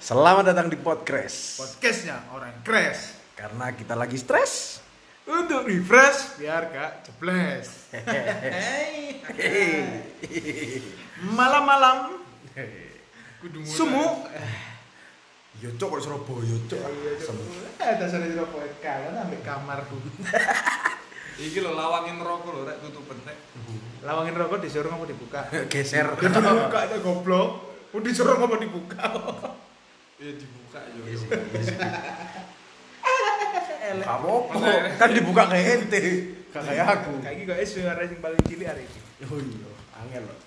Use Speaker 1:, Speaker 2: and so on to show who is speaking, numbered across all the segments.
Speaker 1: Selamat datang di podcast.
Speaker 2: Podcastnya orang crash
Speaker 1: Karena kita lagi stres.
Speaker 2: Untuk refresh biar gak jebles Hey. Malam-malam Eh, Sumuk
Speaker 1: Yo cok Ya, kok Surabaya cok.
Speaker 2: iya,
Speaker 1: Semua.
Speaker 2: Ada sana juga kalah sampai kamarku
Speaker 3: Iki lho lawangin rokok lho rek tutupen rek.
Speaker 2: Lawangin rokok disuruh ngomong dibuka
Speaker 1: Geser.
Speaker 2: Dibuka itu goblok Udah disuruh ngomong dibuka
Speaker 3: Ya dibuka yo.
Speaker 1: Iya sih, iya sih. Kamu apa? kan dibuka kayak ente. Gak Kayak aku.
Speaker 2: Kayak gini kok suara yang paling cilik hari ini
Speaker 1: Oh iya, angel loh.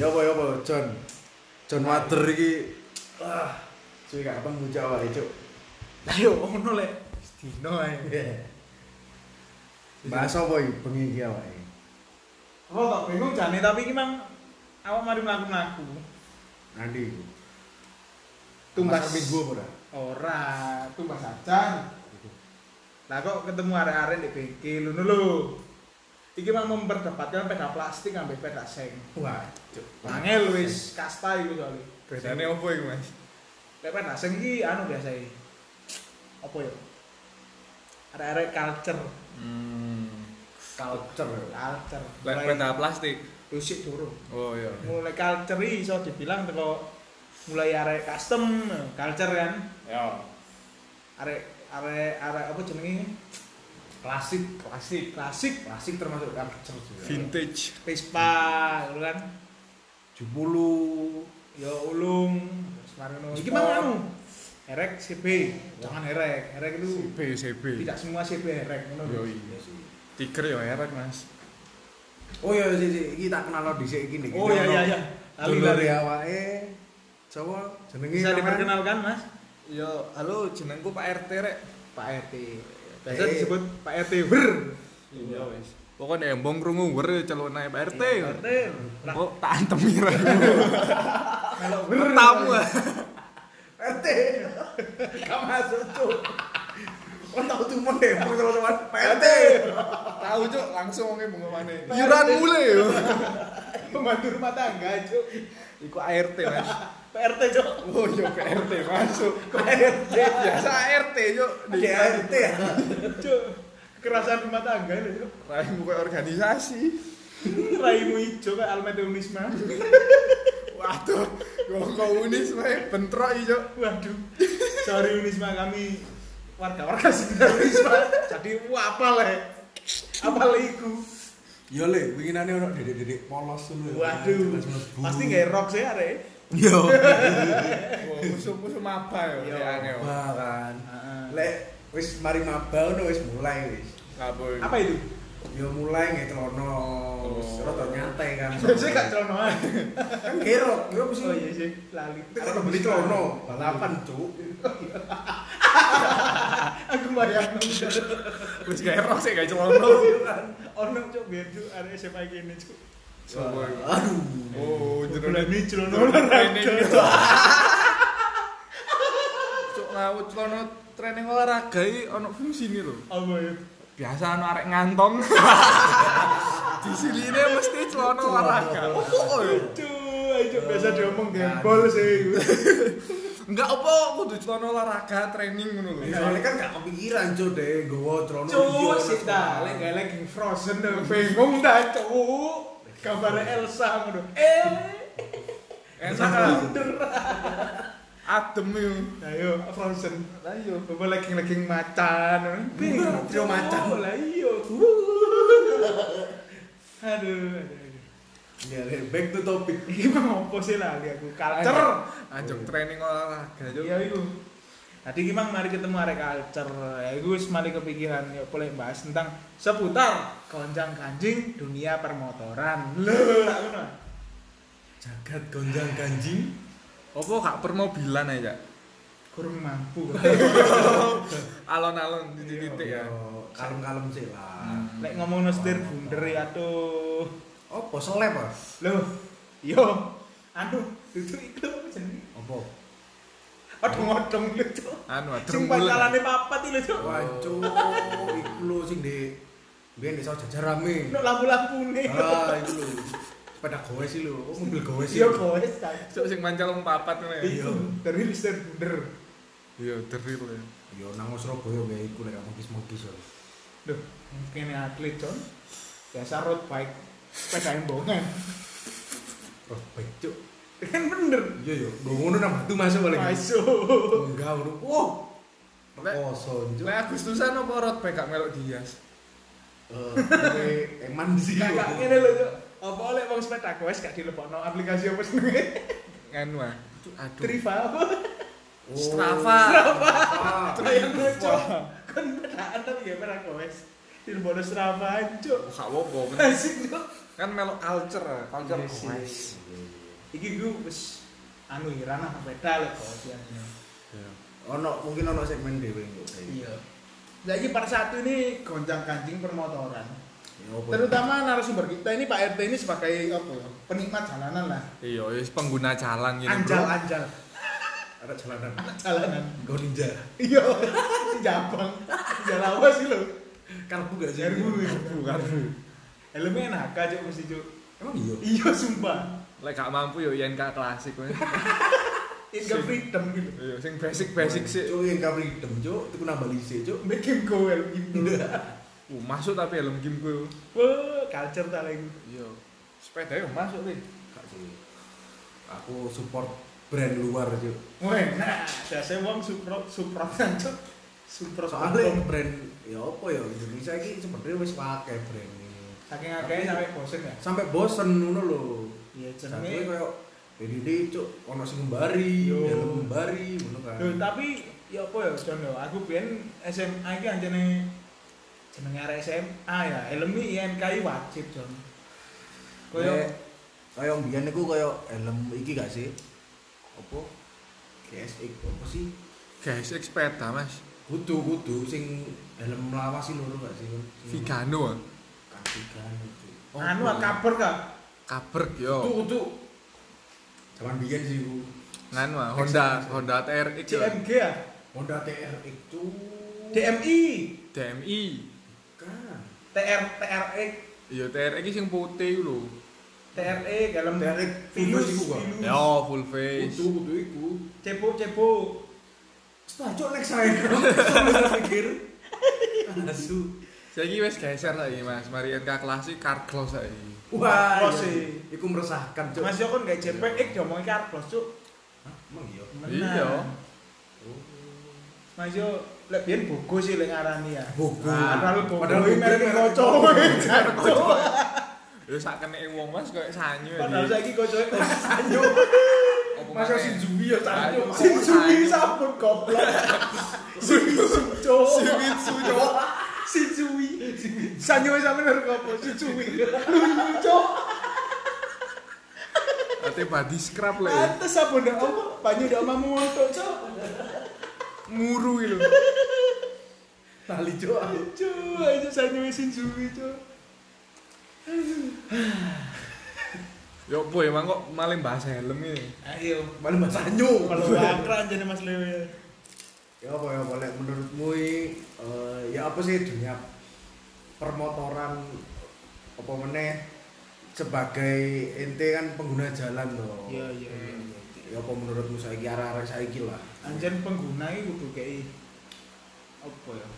Speaker 1: Ya apa ya apa John. John Water iki ah cuy gak ketemu Jawa ya cok.
Speaker 2: Ayo, ono lek Dino ae
Speaker 1: Bahas apa iki bengi iki awake?
Speaker 2: Oh, kok bingung jane tapi ini mang Awak mari melaku-melaku
Speaker 1: Nanti iku.
Speaker 2: Tumbas
Speaker 1: Pasar minggu apa ora?
Speaker 2: Ora, itu Mas Acan. Lah kok ketemu arek-arek di bengkel ngono lho. Iki mah memperdebatkan peda plastik ambek peda seng.
Speaker 1: Wah,
Speaker 2: Angel wis kasta iku soalnya.
Speaker 3: Bedane opo iku Mas?
Speaker 2: Lek peda seng iki anu biasa iki. Apa ya? Arek-arek culture,
Speaker 3: Hmm.
Speaker 1: culture.
Speaker 2: culture.
Speaker 3: Lek peta plastik.
Speaker 2: usik durung.
Speaker 3: Oh iya.
Speaker 2: Mulai culture iki iso dibilang teko mulai arek custom culture kan.
Speaker 3: Ya.
Speaker 2: arek arek arek apa jenenge klasik klasik klasik klasik termasuk culture juga
Speaker 3: Vintage.
Speaker 2: Vespa gitu kan
Speaker 1: Jumulu.
Speaker 2: ya ulung Semarno iki
Speaker 1: Sport.
Speaker 2: mau anu erek CB jangan erek erek itu
Speaker 3: PCB.
Speaker 2: tidak semua CB erek ngono
Speaker 3: Yo
Speaker 2: lho.
Speaker 3: iya. Tiker yo erek Mas.
Speaker 1: Oh iya sih sih, iki tak kenal dhisik iki nih.
Speaker 2: oh iya iya iya Lali,
Speaker 1: Dulur
Speaker 2: lali.
Speaker 1: ya awake. Jawa jenenge
Speaker 2: bisa
Speaker 1: apa?
Speaker 2: diperkenalkan mas
Speaker 3: Yo, halo jenengku Pak RT rek.
Speaker 2: Pak RT biasa
Speaker 1: Eh.
Speaker 2: disebut Pak RT ber
Speaker 3: Iya wis. Pokoknya embong krungu wer celone Pak RT.
Speaker 2: Pak RT Lah,
Speaker 3: Oh, tak antemi rek.
Speaker 2: melok ber
Speaker 3: Tamu. ah.
Speaker 1: RT. Gak masuk tuh. Oh tahu tuh mau demo teman-teman. PRT.
Speaker 3: Tahu cuk, langsung ngomongin bengomane.
Speaker 2: Pak
Speaker 3: Yuran
Speaker 2: RT.
Speaker 3: mule yo.
Speaker 2: pembantu rumah tangga cuk
Speaker 3: Iku ART Mas.
Speaker 2: Pak RT cuk
Speaker 3: Oh yo PRT masuk. PRT biasa ART yo.
Speaker 1: PRT ya.
Speaker 2: Cuk, kekerasan rumah tangga lho.
Speaker 3: Raimu kayak organisasi.
Speaker 2: Raimu hijau kayak Almet Unisma.
Speaker 3: Waduh, kok komunis wae bentrok ijo.
Speaker 2: Waduh. Sorry Unisma kami warga-warga sekitar Unisma. Jadi wah apa le? Apa le iku?
Speaker 1: Yo le, winginane ono dedek-dedek polos dulu.
Speaker 2: Waduh. Pasti nggak rock sih arek.
Speaker 1: Yo.
Speaker 3: Musuh-musuh maba yo.
Speaker 2: Yo.
Speaker 3: Ya aneh. yo.
Speaker 1: Bahkan. Lek wis mari mabal no wis mulai wis.
Speaker 3: Apa iku?
Speaker 2: Apa itu?
Speaker 1: Yo mulai nggak celono. Wis
Speaker 3: Oh.
Speaker 1: Rada nyantai kan.
Speaker 2: Saya gak celonoan.
Speaker 1: Kan gerok, gerok mesti.
Speaker 2: Oh iya sih, lali.
Speaker 1: Kalau beli celono, balapan cuk.
Speaker 2: Aku bayang
Speaker 3: Wis gak erok sih gak celono.
Speaker 2: Ono cuk biar cuk arek SMA gini cuk.
Speaker 3: Sopo iku?
Speaker 1: Aduh.
Speaker 3: Oh,
Speaker 2: Bulan
Speaker 3: jenenge
Speaker 2: ini celono
Speaker 3: training
Speaker 2: olahraga.
Speaker 3: gitu. Cuk ngawut celono training olahraga iki ono fungsine lho.
Speaker 2: Apa ya?
Speaker 3: Biasa ono arek ngantong. Di sini mesti celono olahraga. Oh, yo.
Speaker 2: Cuk, ayo Cuk, biasa diomong gembol sih.
Speaker 3: Enggak apa kudu celana olahraga training ngono lho.
Speaker 1: Ya, Soalnya kan gak kepikiran cuy deh, gowo trono.
Speaker 2: Cuk, sik ta, lek gak lagi frozen lho, bingung ta cuk. Gambar Elsa ngono. Eh,
Speaker 3: Enak ah. Adem yo.
Speaker 2: ayo frozen.
Speaker 3: Lah yo.
Speaker 2: Bapak lagi lagi macan. Bingung
Speaker 1: Trio macan.
Speaker 2: Cuk, Lah iya. Aduh, aduh, aduh.
Speaker 1: Ya, deh, back to topic.
Speaker 2: Iki mau opo sih lali aku culture.
Speaker 3: Ajeng Ah, training olahraga yo.
Speaker 2: Iya iku. Tadi iki mang mari ketemu arek culture. Ya iku wis mari kepikiran ya boleh bahas tentang seputar gonjang-ganjing dunia permotoran. Lho, tak ngono.
Speaker 1: Jagat gonjang ganjing.
Speaker 3: Apa gak permobilan aja?
Speaker 2: kurang mampu
Speaker 3: Alon-alon titik-titik ya.
Speaker 1: Yo, Kalem-kalem sih lah.
Speaker 2: lek ngomong setir bunder ya tuh
Speaker 1: Apa seleb ah?
Speaker 2: loh yo aduh itu itu apa jenenge
Speaker 1: Apa?
Speaker 2: odong odong itu
Speaker 3: Anu,
Speaker 2: sing
Speaker 3: bulan.
Speaker 2: pacarannya papat itu tuh
Speaker 1: Wacu, iku lho sing di Biar di sawo jajar rame.
Speaker 2: no lampu lampu nih
Speaker 1: Ah, itu lho. Pada goes sih lu, kok mobil goes sih?
Speaker 2: Iya goes kan.
Speaker 3: Cuk sing mancal wong papat ngono ya.
Speaker 1: Iya.
Speaker 2: Dari lister bunder.
Speaker 3: Iya, deril ya.
Speaker 1: Yo nang Surabaya ya iku lek mogis-mogis yo.
Speaker 2: Duh, kene atlet con. Biasa road bike, sepeda embongan.
Speaker 1: Oh, baik cuk.
Speaker 2: Kan bener.
Speaker 1: Iya yo, nggo ngono nang batu masuk paling.
Speaker 2: Masuk.
Speaker 1: Enggak ngono. Wah.
Speaker 3: Lek-
Speaker 1: Kosong cuk.
Speaker 3: Lek Agustusan apa road bike gak melok dias?
Speaker 1: Eh, kowe eman di sini.
Speaker 2: Kakak ngene lho, Iya, Cuk. Apa oleh wong sepeda goes gak dilebokno aplikasi apa senenge?
Speaker 3: Nganu ah. Cuk, Aduh.
Speaker 2: Triva apa?
Speaker 1: Oh.
Speaker 3: Strava.
Speaker 1: Ah,
Speaker 2: Bayang lucu. Kan pedaan tapi ya pernah goes. Dilebokno Strava, Cuk.
Speaker 3: Gak apa-apa. men-
Speaker 2: Asik, Cuk.
Speaker 3: Kan melok culture, ah. culture
Speaker 2: Yes, yes.
Speaker 3: goes.
Speaker 2: Iki gue wis anu ya ranah sepeda lho goes ya.
Speaker 1: Ono mungkin ono segmen dhewe kok.
Speaker 2: Iya. Nah, ini part satu ini gonjang kancing permotoran.
Speaker 1: Ya, apa?
Speaker 2: Terutama narasumber kita ini Pak RT ini sebagai apa ya? Penikmat jalanan lah.
Speaker 3: Iya, wis pengguna jalan gini,
Speaker 2: Anjal,
Speaker 3: Bro.
Speaker 2: anjal.
Speaker 1: ada jalanan.
Speaker 2: Jalanan.
Speaker 1: Go ninja.
Speaker 2: Iya. Jabang. Jalawa sih lo.
Speaker 1: Karbu gak sih?
Speaker 2: Karbu, ya.
Speaker 3: karbu.
Speaker 2: Helmnya enak aja mesti cuk.
Speaker 1: Emang iya.
Speaker 2: Iya sumpah.
Speaker 3: Lek gak mampu yo yen gak klasik weh.
Speaker 2: Inga
Speaker 3: Sing.
Speaker 2: freedom gitu.
Speaker 3: Iya, sing basic-basic sih.
Speaker 1: Cuk yang kabri dem cuk, iku nambah lise cuk.
Speaker 2: Bikin go helm gitu.
Speaker 3: Uh, masuk tapi helm game gue.
Speaker 2: Wah, culture ta lagi.
Speaker 3: Iya. Sepeda yo masuk nih.
Speaker 1: Kak sih. Aku support brand luar cuk.
Speaker 2: Wah, enak. Dasar wong supro supro cuk. Supro
Speaker 1: Soalnya brand ya apa ya Indonesia ini sebenarnya wis pakai brand ini.
Speaker 2: Saking akeh sampai bosen ya.
Speaker 1: Sampai bosen ngono lho.
Speaker 2: Iya,
Speaker 1: Sampai koyo ini ini cuk ono sing mbari,
Speaker 2: Yo.
Speaker 1: ya mbari ngono kan.
Speaker 2: Loh, tapi ya apa ya, John ya, aku biyen SMA iki anjene jenenge arek SMA ya, helm iki IMKI wajib, John.
Speaker 1: Nek,
Speaker 2: Koyo
Speaker 1: kaya mbiyen niku kaya helm iki gak sih? Apa? GSX apa sih?
Speaker 3: Guys, ik sepeda Mas.
Speaker 1: Kudu kudu sing helm lawas sih lho gak sih? Sing-
Speaker 3: Vigano. ah.
Speaker 1: Kakigan itu.
Speaker 2: anu ah, kabar ka.
Speaker 3: Kabrek yo.
Speaker 1: kudu. Zaman biyen sih ku.
Speaker 3: Nganu ah, Honda, Honda TRX yo.
Speaker 2: CMG ya,
Speaker 1: Honda TRX cu.
Speaker 2: DMI,
Speaker 3: DMI.
Speaker 1: Kan.
Speaker 2: TR TRX,
Speaker 3: Iya, TRX sing putih lho.
Speaker 2: TRE E, dalam
Speaker 1: TRX, Vilus
Speaker 2: Vilus,
Speaker 1: E, iku, Pak.
Speaker 2: Vilus.
Speaker 3: Yo, full
Speaker 1: Kudu
Speaker 3: face.
Speaker 1: kudu iku.
Speaker 2: Cepo cepo.
Speaker 1: Setelah cok nek saya Saya pikir. Asu.
Speaker 3: Saiki wis geser saiki Mas. Mari NK klasik car close saiki.
Speaker 1: Wah,
Speaker 2: Close,
Speaker 1: iya.
Speaker 2: eh.
Speaker 1: Iku meresahkan cok.
Speaker 2: Mas yo kan gak JPX diomongi Carlos, Cuk.
Speaker 1: Hah, emang iya. Oh.
Speaker 2: Menang.
Speaker 3: Iya.
Speaker 2: Mas yo lek biyen bogo sih lek ngarani ya.
Speaker 1: Bogo.
Speaker 2: Padahal bogo
Speaker 1: Padahal
Speaker 2: iki
Speaker 1: bogo
Speaker 2: merek
Speaker 1: merek
Speaker 2: kocok,
Speaker 1: bogo.
Speaker 2: weh, jancuk.
Speaker 3: Yo sak kene wong Mas koyo sanyu.
Speaker 2: Padahal
Speaker 3: ya, Di.
Speaker 2: saiki e kocoknya Sanyo.
Speaker 3: Apa
Speaker 1: Masa
Speaker 3: maneh?
Speaker 1: Shinzumi ya
Speaker 3: Sanyo.
Speaker 1: Sanyo.
Speaker 2: Shinzumi sabun goblok. Shinzumi cowok.
Speaker 3: Shimizu, cowok.
Speaker 2: Shinzumi. Sanyo wis sampe nerko apa Shinzumi. Luyu cowok.
Speaker 3: Ate body scrub lho. ya.
Speaker 2: Pantes sabun ndak apa banyu ndak mau montok cowok.
Speaker 3: Muru iki lho.
Speaker 1: Tali cok.
Speaker 2: Cowok aja Sanyo wis Shinzumi cowok.
Speaker 3: Yo boy, emang kok malah bahas helm iki.
Speaker 2: Ayo.
Speaker 1: Balik Mas Sanyo.
Speaker 2: Kalau wakran jadi Mas Lewe.
Speaker 1: Ya apa ya boleh menurutmu i, eh, ya apa sih dunia permotoran apa meneh sebagai ente kan pengguna jalan loh.
Speaker 2: Iya iya.
Speaker 1: Ya apa menurutmu saiki arah-arah saiki lah.
Speaker 2: Anjen pengguna iki kudu kei apa ya?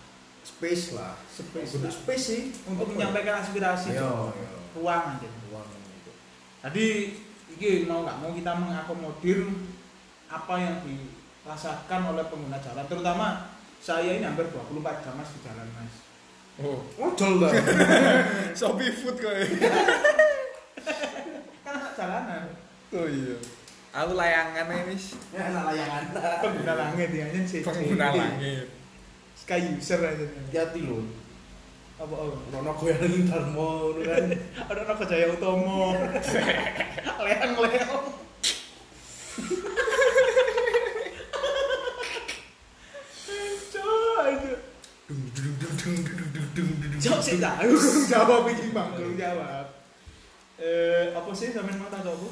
Speaker 1: Space lah.
Speaker 2: Space
Speaker 1: Kudu
Speaker 2: lah.
Speaker 1: space sih
Speaker 2: Untuk
Speaker 1: Apa ya?
Speaker 2: menyampaikan
Speaker 1: Iya,
Speaker 2: aspirasi. Cuk.
Speaker 1: iya.
Speaker 2: Ruang anjen.
Speaker 1: Ruang itu.
Speaker 2: Tadi iki mau nggak mau kita mengakomodir apa yang dirasakan oleh pengguna jalan, terutama saya ini hampir 24 jam mas di jalan mas.
Speaker 3: Oh,
Speaker 1: Ngojol lah.
Speaker 3: Shopee Food kok.
Speaker 2: Kan anak jalanan,
Speaker 3: Oh iya. Aku layangan ae wis
Speaker 1: Ya enak layangan.
Speaker 2: pengguna langit ya, ini sih.
Speaker 3: pengguna langit.
Speaker 2: Sky user aja. Ya.
Speaker 1: Hati-hati loh.
Speaker 2: Apa apa?
Speaker 1: Ono goyangan Dharma ngono kan.
Speaker 2: Ada anak kejaya utomo. leang leang. Aduh, aduh.
Speaker 1: Dung dung dung dung dung dung dung dung.
Speaker 2: Jawab sih tak, aku kurang jawab iki bang, kurang jawab. Eh, apa sih sampean mau tanya aku?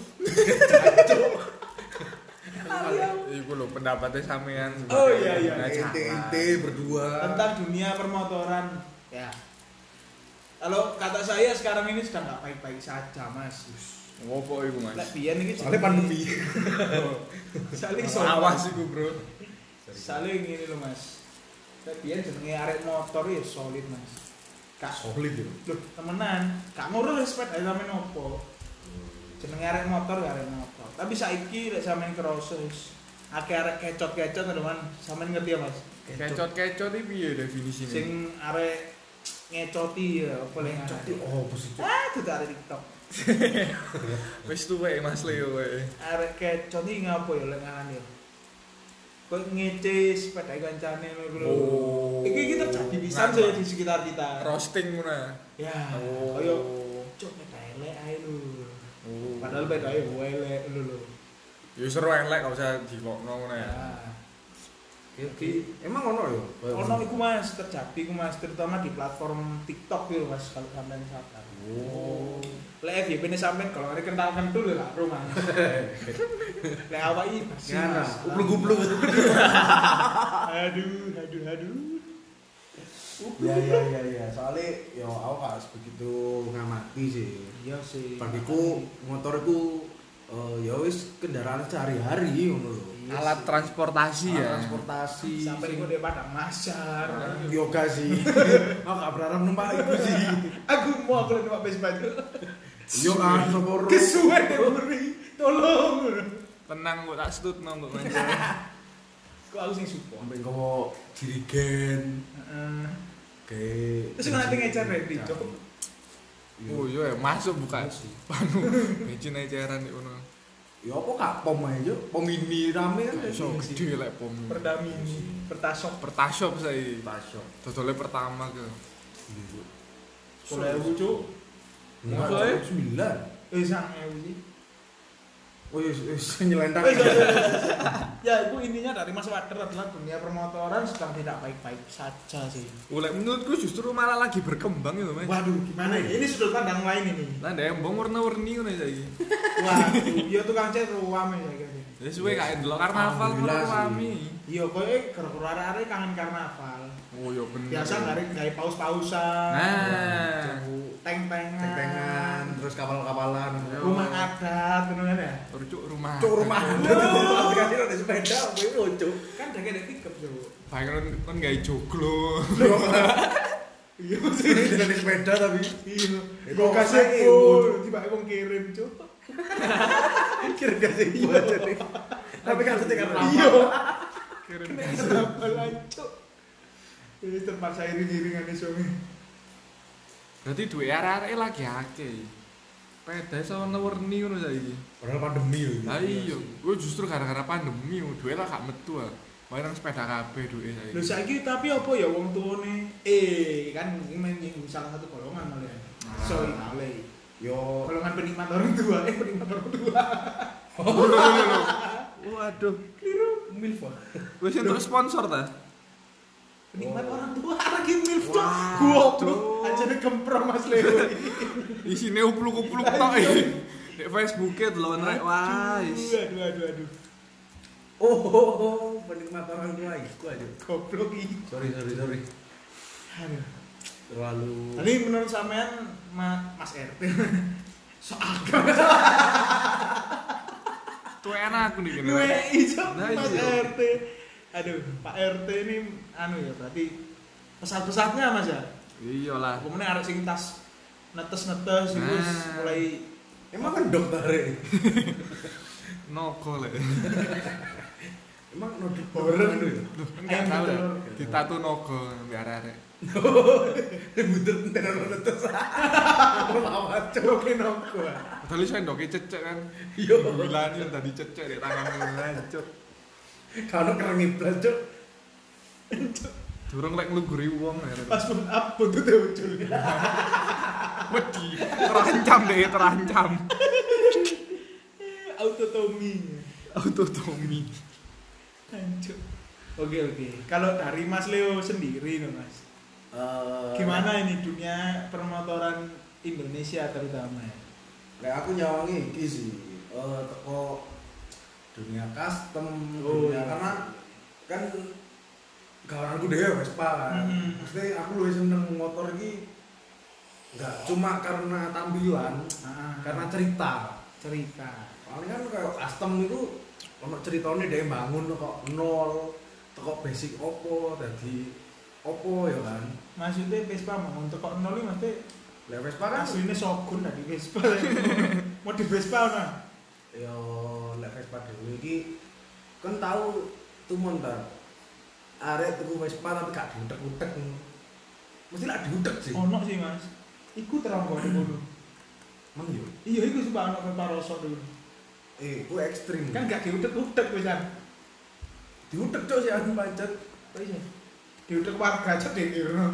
Speaker 3: Iku lho pendapatnya sampean. sebagai
Speaker 2: Oh, iya, iya.
Speaker 3: pengguna jalan.
Speaker 1: Ente-ente Nah, berdua.
Speaker 2: Tentang dunia permotoran. Ya. Kalau kata saya sekarang ini sedang nggak baik-baik saja, Mas.
Speaker 3: Ngopo iku,
Speaker 2: Lek
Speaker 3: Mas?
Speaker 2: biyen iki
Speaker 1: Soalnya pandemi.
Speaker 2: Soalnya iso.
Speaker 3: Awas iku, Bro.
Speaker 2: Soalnya ngene lho, Mas. Lek biyen jenenge arek motor ya solid, Mas. Kak
Speaker 1: Solid ya.
Speaker 2: Loh, temenan, gak ngurus respect ae sampean opo. Jenenge arek motor ya arek motor. Tapi saiki lek sampean crosses, akeh arek kecot-kecot lho, Man. Sampean ngerti ya, Mas?
Speaker 3: Kecot-kecot iki piye definisine?
Speaker 2: Sing arek ngecoti ya apa lek
Speaker 1: Cok,
Speaker 2: ngecoti.
Speaker 1: oh apa sih cok?
Speaker 2: Ah, itu arek TikTok.
Speaker 3: wis tuwek Mas Leo wae.
Speaker 2: Arek kecot iki ngapo ya lek ngaran ya? Kok ngece sepeda kancane lho, Bro.
Speaker 3: Oh.
Speaker 2: Iki kita terjadi pisan
Speaker 3: Nah,
Speaker 2: sih di sekitar kita.
Speaker 3: Roasting ngono. ya?
Speaker 2: Ya,
Speaker 3: Oh.
Speaker 2: kaya cok beda elek ae lho.
Speaker 3: Oh.
Speaker 2: Padahal beda ae wae elek lho lho.
Speaker 3: Ya seru elek gak usah dilokno ngono ya.
Speaker 2: Nah.
Speaker 1: Jadi emang ono ya?
Speaker 2: Ono iku Mas terjadi iku Mas terutama di platform TikTok itu Mas kalau sampean sadar.
Speaker 1: Oh.
Speaker 2: Lek FYP ne sampean kalau hari kental kentul ya lah rumah. Lek awak iki bersih
Speaker 1: Gimana?
Speaker 2: Mas.
Speaker 1: Upluk-upluk.
Speaker 2: Aduh, aduh, aduh.
Speaker 1: Ya ya ya ya. Soalnya ya aku gak sebegitu ngamati sih.
Speaker 2: Iya sih.
Speaker 1: Bagiku motor iku eh, ya wis kendaraan sehari-hari ngono lho.
Speaker 2: Iya
Speaker 3: Alat
Speaker 2: sih.
Speaker 3: transportasi ya.
Speaker 1: Transportasi.
Speaker 2: sampai
Speaker 1: sing-
Speaker 2: iku dhewe padang masar.
Speaker 1: yoga sih. Aku gak berharap numpak itu sih.
Speaker 2: Aku mau aku lagi numpak Vespa itu.
Speaker 1: Yo ah sopor.
Speaker 2: Kesuwen diberi. Tolong.
Speaker 3: Tenang kok tak setutno kok Mas.
Speaker 2: Kok aku sing support.
Speaker 1: Sampai kau dirigen.
Speaker 2: Heeh.
Speaker 1: Kayak.
Speaker 2: Terus nanti ngejar Randy, Cok.
Speaker 3: Oh iya ya, masuk buka
Speaker 1: sih.
Speaker 3: panu bensin eceran iki ngono.
Speaker 1: Ya apa kak pom aja? Pom ini rame kan?
Speaker 3: Iso Oh, gede lek pom.
Speaker 2: Perdamini, pertasok.
Speaker 3: Pertasop saya.
Speaker 1: Pasok.
Speaker 3: Dodole pertama ke.
Speaker 2: Soalnya aku cuk.
Speaker 1: Enggak,
Speaker 3: Masa, ya?
Speaker 1: sembilan.
Speaker 2: Eh sang ewu sih.
Speaker 1: Oh iya, iya, iya, nyelendang.
Speaker 2: Eh, sorry, sorry, sorry. ya itu intinya dari Mas Wader adalah dunia permotoran sedang tidak baik-baik saja sih.
Speaker 3: Oleh menurutku justru malah lagi berkembang itu Mas.
Speaker 2: Waduh, gimana ya? Ini sudut pandang lain ini.
Speaker 3: Lah ndek embong warna-warni ngono saiki.
Speaker 2: Waduh, ya tukang cat ruam ya kayaknya.
Speaker 3: Ya suwe gak ndelok karnaval ngono
Speaker 1: Alhamdulillah sih.
Speaker 3: rame.
Speaker 2: Iya, kowe gara-gara arek-arek kangen karnaval.
Speaker 3: Oh iya bener.
Speaker 2: Biasa dari gawe paus-pausan.
Speaker 3: Nah.
Speaker 2: Teng-tengan.
Speaker 1: Teng-tengan, terus kapal-kapalan.
Speaker 2: Rumah adat, bener kan ya?
Speaker 3: Rujuk rumah.
Speaker 1: Cuk rumah.
Speaker 2: Oh.
Speaker 1: Aplikasi ada sepeda, gue mau cuk.
Speaker 2: Kan dia kayak pickup tuh.
Speaker 3: Bayangkan kan gawe joglo.
Speaker 2: Iya,
Speaker 1: Tidak ada sepeda tapi.
Speaker 2: Iya.
Speaker 1: Eh,
Speaker 2: Gue
Speaker 1: kok
Speaker 2: kasih
Speaker 1: saya
Speaker 2: pun, tiba-tiba gue kirim cuy.
Speaker 1: Kira kasih gua aja nih. Tapi kan setia karnaval.
Speaker 2: Iya.
Speaker 3: Kirim.
Speaker 2: Kenapa lancu? Ini tempat saya iring-iringan suami.
Speaker 1: Iya.
Speaker 3: Berarti duwe arek-arek lagi akeh. Peda iso warna-warni ngono saiki.
Speaker 1: Padahal pandemi loh.
Speaker 3: Lah iya, gue justru gara-gara pandemi, duwe lah gak metu ah. Main nang sepeda kabeh duwe saiki.
Speaker 2: Lho saiki tapi apa ya wong tuane? Eh, kan ini main nyinggung salah satu golongan malah. ya.
Speaker 1: Nah.
Speaker 2: Sorry, malah.
Speaker 1: Yo.
Speaker 2: Golongan penikmat orang tua, eh penikmat orang tua.
Speaker 3: Oh, Waduh,
Speaker 2: Keliru, milf. Pak.
Speaker 3: wis untuk sponsor ta?
Speaker 2: Penikmat
Speaker 1: Oh.
Speaker 2: orang tua lagi milf dong.
Speaker 1: Wah,
Speaker 2: Goblok.
Speaker 3: aduh.
Speaker 2: Aja kempro Mas Leo.
Speaker 3: Isine upluk-upluk tok iki. Nek Facebook-e delon rek wis.
Speaker 2: Aduh, aduh, aduh.
Speaker 1: Oh, oh, oh, penikmat orang tua itu aja.
Speaker 2: Goblok iki.
Speaker 1: Sorry, sorry, sorry.
Speaker 2: Aduh.
Speaker 1: Terlalu.
Speaker 2: Tadi menurut sampean Ma- Mas RT soal
Speaker 3: Tuwe anak aku nih kene.
Speaker 2: Gue ijo
Speaker 3: Nah,
Speaker 2: Mas
Speaker 3: iya.
Speaker 2: RT. Aduh, Pak RT ini anu ya berarti pesat-pesatnya Mas ya.
Speaker 3: Iya lah.
Speaker 2: Aku meneh arek sing tas netes-netes
Speaker 3: Nah.
Speaker 2: itu mulai
Speaker 1: Emang kan dokter ini?
Speaker 3: Noko lek.
Speaker 1: Emang nodok
Speaker 2: Horor.
Speaker 1: anu ya?
Speaker 3: Enggak
Speaker 2: Ayam
Speaker 3: tahu lek.
Speaker 2: telur.
Speaker 3: Ditatu nogo mbek arek-arek.
Speaker 1: Bunder tenan ora tetes. Lawat cuk
Speaker 2: oke nong gua.
Speaker 3: Padahal sendoke cecek kan.
Speaker 1: Yo.
Speaker 3: Bilani tadi cecek di tanganmu ancuk.
Speaker 1: Kalau kerengi blas cuk.
Speaker 3: Durung lek ngluguri wong arek.
Speaker 2: Pas pun up ya, buntute ucul.
Speaker 3: Wedi, terancam deh, terancam.
Speaker 2: Autotomi.
Speaker 3: Autotomi.
Speaker 2: Hancur. Oke oke. Kalau dari Mas Leo sendiri no Mas.
Speaker 1: Eh,
Speaker 2: Gimana ini dunia permotoran Indonesia terutama ya?
Speaker 1: Nek aku nyawangi iki sih. Eh teko dunia custom,
Speaker 2: Oh,
Speaker 1: dunia
Speaker 2: iya.
Speaker 1: karena kan gawanku dhewe Vespa kan.
Speaker 2: Mm-mm.
Speaker 1: Mesti aku luwih seneng motor iki enggak cuma karena tampilan,
Speaker 2: Ah.
Speaker 1: karena cerita.
Speaker 2: cerita
Speaker 1: paling kan kayak custom itu ono ceritanya dia bangun kok nol teko basic opo dadi opo ya kan
Speaker 2: maksudnya Vespa mau untuk kok nol ini maksudnya
Speaker 1: lewes parah
Speaker 2: aslinya Shogun lah di Vespa mau di Vespa nah
Speaker 1: ya lek Vespa dhewe iki kan tau tumon ta. Arek tuku Vespa tapi gak diutek-utek. Mesti lak diutek sih.
Speaker 2: ono sih mas iku terang kok dulu
Speaker 1: Emang yo.
Speaker 2: iya iku sebab ono Vespa Rosso dulu
Speaker 1: Eh, ku ekstrim.
Speaker 2: kan gak diutek-utek wisan
Speaker 1: diutek cok sih aku pancet.
Speaker 2: Apa iya diutek warga aja deh kira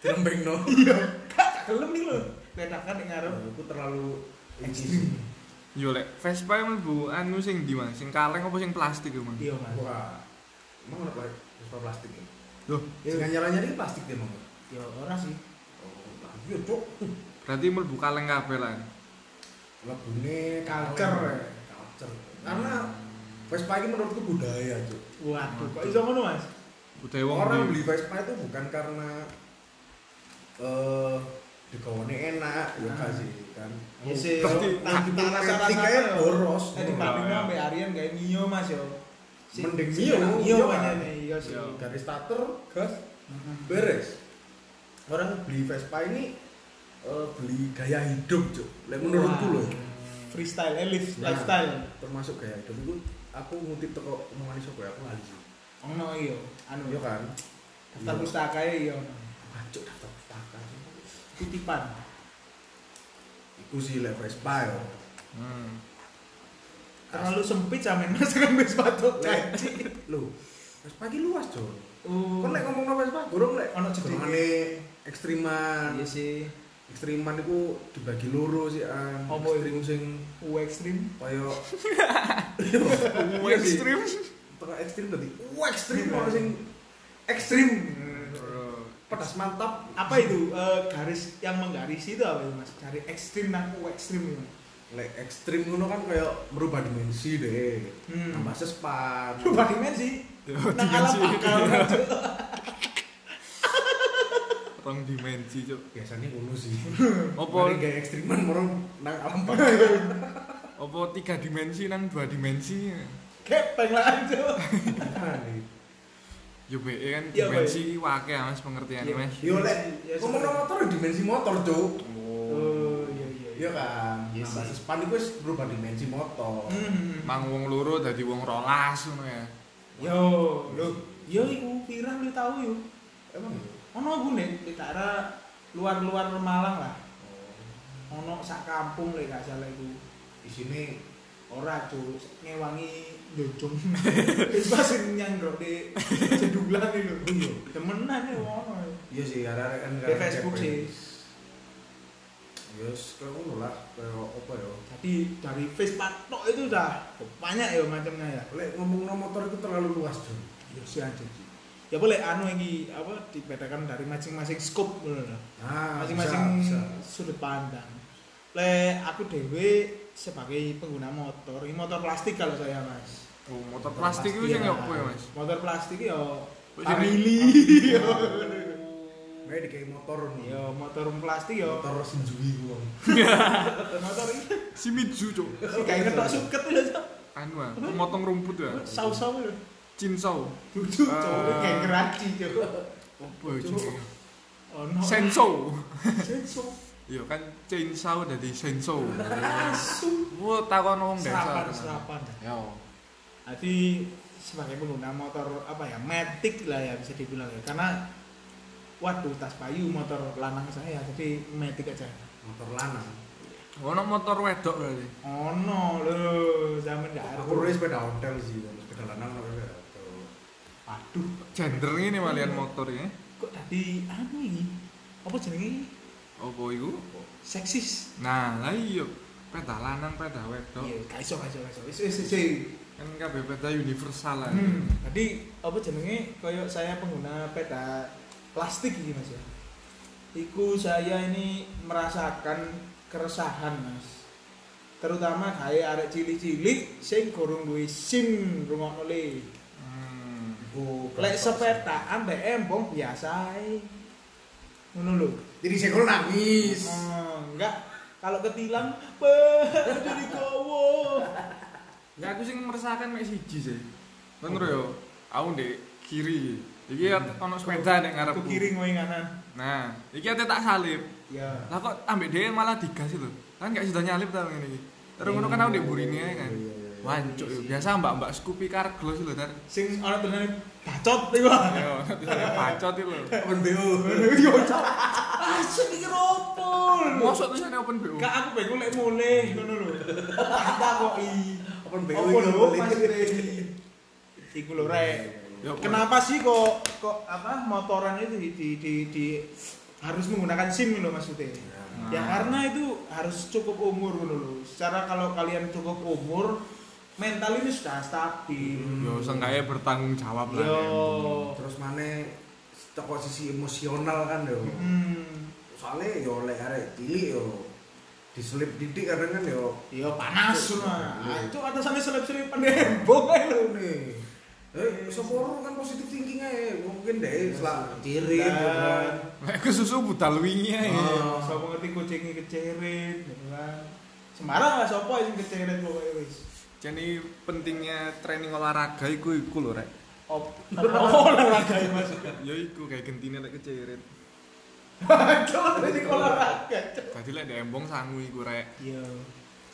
Speaker 1: Dirembengno.
Speaker 2: iya gak gak gelem nih lho ledakan yang ngarep
Speaker 1: Aku terlalu
Speaker 2: Ekstrim.
Speaker 1: ekstrim.
Speaker 3: Yo lek Vespa yang mlebu anu sing di Mas, sing kaleng apa sing plastik ya, Mas?
Speaker 2: iya mas
Speaker 1: Wah. Emang ono Pak, Vespa plastik ya?
Speaker 3: Loh,
Speaker 1: Ya nyala-nyala ini plastik dia mau.
Speaker 2: ya ora sih
Speaker 1: Oh, lah yo cok.
Speaker 3: berarti mlebu kaleng kabeh lah.
Speaker 1: Lebune
Speaker 2: Culture.
Speaker 1: Culture. Karena Vespa ini menurutku budaya cok.
Speaker 2: waduh kok iso ngono mas Ya,
Speaker 3: Budaya wong
Speaker 1: orang
Speaker 3: beli.
Speaker 1: beli Vespa itu bukan karena eh dikawani enak ya
Speaker 2: Ah.
Speaker 1: kan sih kan
Speaker 2: Ya sih, nah,
Speaker 1: Pasti
Speaker 2: yo, tak-
Speaker 1: nanti
Speaker 2: tak rasa-rasa
Speaker 1: etika ya
Speaker 2: yo.
Speaker 1: boros.
Speaker 2: Tadi
Speaker 3: Boros.
Speaker 1: Iya,
Speaker 2: Pak Bimo Eh, sampai Aryan kayak Mio mas yo. Si-
Speaker 1: Mending
Speaker 2: si-
Speaker 1: Mio,
Speaker 2: Mio
Speaker 1: iya,
Speaker 2: kan
Speaker 1: Mas.
Speaker 2: ini, iya sih.
Speaker 3: Iya.
Speaker 1: dari starter gas beres orang beli Vespa ini eh, beli gaya hidup cuk Lek menurutku
Speaker 2: Wah.
Speaker 1: loh
Speaker 2: Freestyle, eh, lift-
Speaker 1: Nah.
Speaker 2: lifestyle.
Speaker 1: termasuk gaya hidup itu aku ngutip toko omongan iso ya, aku lali sih
Speaker 2: Oh no iyo, anu
Speaker 1: iya kan
Speaker 2: Daftar pustaka iyo.
Speaker 1: Wah, cuk daftar pustaka
Speaker 2: Titipan.
Speaker 1: iku sih lek Vespa yo
Speaker 3: Hmm.
Speaker 2: Terlalu sempit sampe mas kan wis patok janji.
Speaker 1: lho Vespa ini luas cuk
Speaker 2: Oh.
Speaker 1: Kon lek ngomong apa Vespa, gorong lek
Speaker 2: Ono jedike.
Speaker 1: jenengane ekstriman.
Speaker 2: Iya sih.
Speaker 1: Ekstriman iku dibagi loro sih an.
Speaker 2: Apa
Speaker 1: ekstrim sing
Speaker 2: U ekstrim.
Speaker 1: kaya
Speaker 3: Wong
Speaker 1: Iya sih.
Speaker 3: ekstrim.
Speaker 1: Tengah ekstrim tadi. Wah,
Speaker 2: Iya.
Speaker 1: ekstrim ono sing ekstrim. Pedas mantap.
Speaker 2: Apa itu eh, garis yang menggarisi itu apa itu mas? Dari ekstrim nang U ekstrim iya.
Speaker 1: Nah.
Speaker 2: itu.
Speaker 1: Lek ekstrim ngono kan kaya merubah dimensi deh.
Speaker 2: Hmm.
Speaker 1: Nambah sespan.
Speaker 2: Berubah dimensi.
Speaker 3: Ya,
Speaker 2: Nang alam
Speaker 3: dimensi.
Speaker 2: bakal.
Speaker 3: Rong dimensi, Cuk.
Speaker 1: Biasanya ngono sih.
Speaker 3: Apa
Speaker 1: Mari gaya ekstriman orang nang alam bakar.
Speaker 3: apa tiga dimensi nang dua dimensi?
Speaker 2: Kepeng lah aja.
Speaker 3: Yo BE kan
Speaker 2: Iya,
Speaker 3: dimensi wake ya, Mas pengertiane,
Speaker 2: Iya.
Speaker 3: Mas.
Speaker 1: Yo lek
Speaker 2: Ya,
Speaker 1: ngomong motor dimensi motor, Cuk.
Speaker 2: Oh iya iya.
Speaker 1: Iya kan.
Speaker 2: Iya
Speaker 1: Nambah
Speaker 2: sih.
Speaker 1: sespan itu wis berubah dimensi motor.
Speaker 2: Hmm.
Speaker 3: Mang wong loro dadi wong rolas ngono ya.
Speaker 2: Yo, lho, yo iku pirang lu tau yo.
Speaker 1: Emang ya?
Speaker 2: Ono aku nek di daerah luar-luar Malang lah.
Speaker 1: Oh,
Speaker 2: Ono sak kampung lek gak salah iku.
Speaker 1: Di sini
Speaker 2: Ora cuk, ngewangi njojong. Wis pas nyanggrok di jedulan iki lho. Iya, temenan ya ono.
Speaker 1: iya sih ada kan
Speaker 2: Di Facebook sih.
Speaker 1: Yes, kalau ngono lah, kalau apa ya?
Speaker 2: Jadi dari Vespa tok itu dah banyak ya macamnya ya.
Speaker 1: Lek ngomong motor itu terlalu luas Jun.
Speaker 2: Yo sih anjing. Ya boleh anu iki apa dibedakan dari masing-masing scope ngono lho.
Speaker 1: Nah,
Speaker 2: masing-masing
Speaker 1: Ah, bisa, bisa.
Speaker 2: sudut pandang. Le aku dewe sebagai pengguna motor, ini motor plastik kalau saya mas.
Speaker 3: Oh, motor plastik itu sing
Speaker 2: Iya.
Speaker 3: apa ya, Mas? Oh.
Speaker 2: Motor plastik yo.
Speaker 3: Wis
Speaker 2: Family. Yo.
Speaker 1: Kayak dikai motor nih.
Speaker 2: Yo motor plastik yo.
Speaker 1: Motor sinjui wong.
Speaker 2: Motor ini
Speaker 3: Shimizu, Cuk.
Speaker 2: kayak ngetok suket lho Cok.
Speaker 3: Anu ya, motong rumput ya.
Speaker 2: Sau-sau lho.
Speaker 3: Cinsau.
Speaker 2: Duduk
Speaker 3: Ah.
Speaker 2: cowok kayak keraci cowok.
Speaker 3: Apa ya,
Speaker 2: Cuk.
Speaker 3: jenenge?
Speaker 2: Oh no.
Speaker 3: Sensou.
Speaker 2: Senso.
Speaker 3: Iya kan chainsaw dari sensou.
Speaker 2: Asu.
Speaker 3: Wah, takon wong desa.
Speaker 2: Serapan serapan.
Speaker 3: Yo.
Speaker 2: Jadi sebagai pengguna motor apa ya matic lah ya bisa dibilang ya karena waduh tas payu motor lanang saya jadi matic aja
Speaker 1: Motor lanang.
Speaker 3: Ono motor wedok berarti.
Speaker 2: oh no lo zaman gak
Speaker 1: Aku rese sepeda ontel sih, kalau sepeda lanang kalau sepeda ontel.
Speaker 2: waduh
Speaker 3: Gender ini malian motor ya.
Speaker 2: kok tadi anu ini apa jenenge
Speaker 3: Apa iku?
Speaker 2: seksis
Speaker 3: Nah, lah iya. Peda lanang, peda wedok.
Speaker 2: iya gak iso gak iso gak iso wis wis wis
Speaker 3: Kan kabeh peda universal lah.
Speaker 2: Hmm, tadi apa jenenge koyo saya pengguna peta plastik iki Mas ya. Iku saya ini merasakan keresahan Mas. Terutama kayak arek cilik-cilik sing gorong duwe SIM rungokno le.
Speaker 3: Hmm.
Speaker 1: Iku
Speaker 2: Lek
Speaker 1: kelas-
Speaker 2: sepetaan mbek embong biasa ae. Ngono lho.
Speaker 1: Jadi saya kalau nangis.
Speaker 2: Oh, enggak Kalau ketilang, "Pak, ada di kowo."
Speaker 3: Ya aku sing merasakan mek siji sih. Bener yo. Aku ndek kiri. Iki ono sepeda nek
Speaker 2: Aku
Speaker 3: ngarepku.
Speaker 2: kiri ngoe kanan.
Speaker 3: Nah, iki ate tak salip.
Speaker 2: Ya.
Speaker 3: Lah kok ambek dhewe malah digas lho. Kan gak sudah nyalip ta ngene iki. Terus ngono kan aku ndek burine ae kan.
Speaker 1: Iya, iya, iya.
Speaker 3: Wancuk yo. Biasa mbak-mbak Scoopy Carglass lho, Tar.
Speaker 2: Sing ana tulisane bacot iku.
Speaker 3: Yo, tulisannya pacot itu lho.
Speaker 1: Open BO.
Speaker 2: Asik iki ropo.
Speaker 3: Mosok tulisannya open BO.
Speaker 2: Kak aku pengen lek mulih ngono lho. Tak kok i.
Speaker 1: Open BO.
Speaker 2: Apa
Speaker 1: ini
Speaker 2: lho
Speaker 1: boleh.
Speaker 2: Mas Rey? Iku lho rek.
Speaker 3: Yo,
Speaker 2: Kenapa sih kok kok apa motoran itu di di di, di- harus menggunakan SIM loh maksudnya? Ya karena itu harus cukup umur dulu. Secara kalau kalian cukup umur, mental ini sudah stabil. Ya.
Speaker 3: Yo sengkae bertanggung jawab lah.
Speaker 2: Yo.
Speaker 1: Terus mana toko sisi emosional kan yo.
Speaker 2: Hmm.
Speaker 1: Soalnya yo oleh arek cilik yo diselip didik kadang kan yo.
Speaker 2: Yo panas mah.
Speaker 1: Iya.
Speaker 2: Itu atas sampai selip-selipan heboh ae lho.
Speaker 1: nih. Eh, sepuluh kan positif thinking aja, mungkin deh, selak ciri,
Speaker 2: Dan-
Speaker 1: ya kan.
Speaker 3: Lek ke susu budal wingi ae.
Speaker 1: Oh.
Speaker 2: Sapa Iya, ngerti kucingnya keceret, ya kan. Sembarang lah sapa yang keceret pokoknya wis.
Speaker 3: Jadi pentingnya training olahraga iku iku lho rek.
Speaker 2: Op. Oh, olahraga ya Mas.
Speaker 3: Ya iku kayak gentine lek kecerit.
Speaker 2: Kalau dari olahraga.
Speaker 3: Tadi lek dembong sangu iku rek.
Speaker 2: Iya.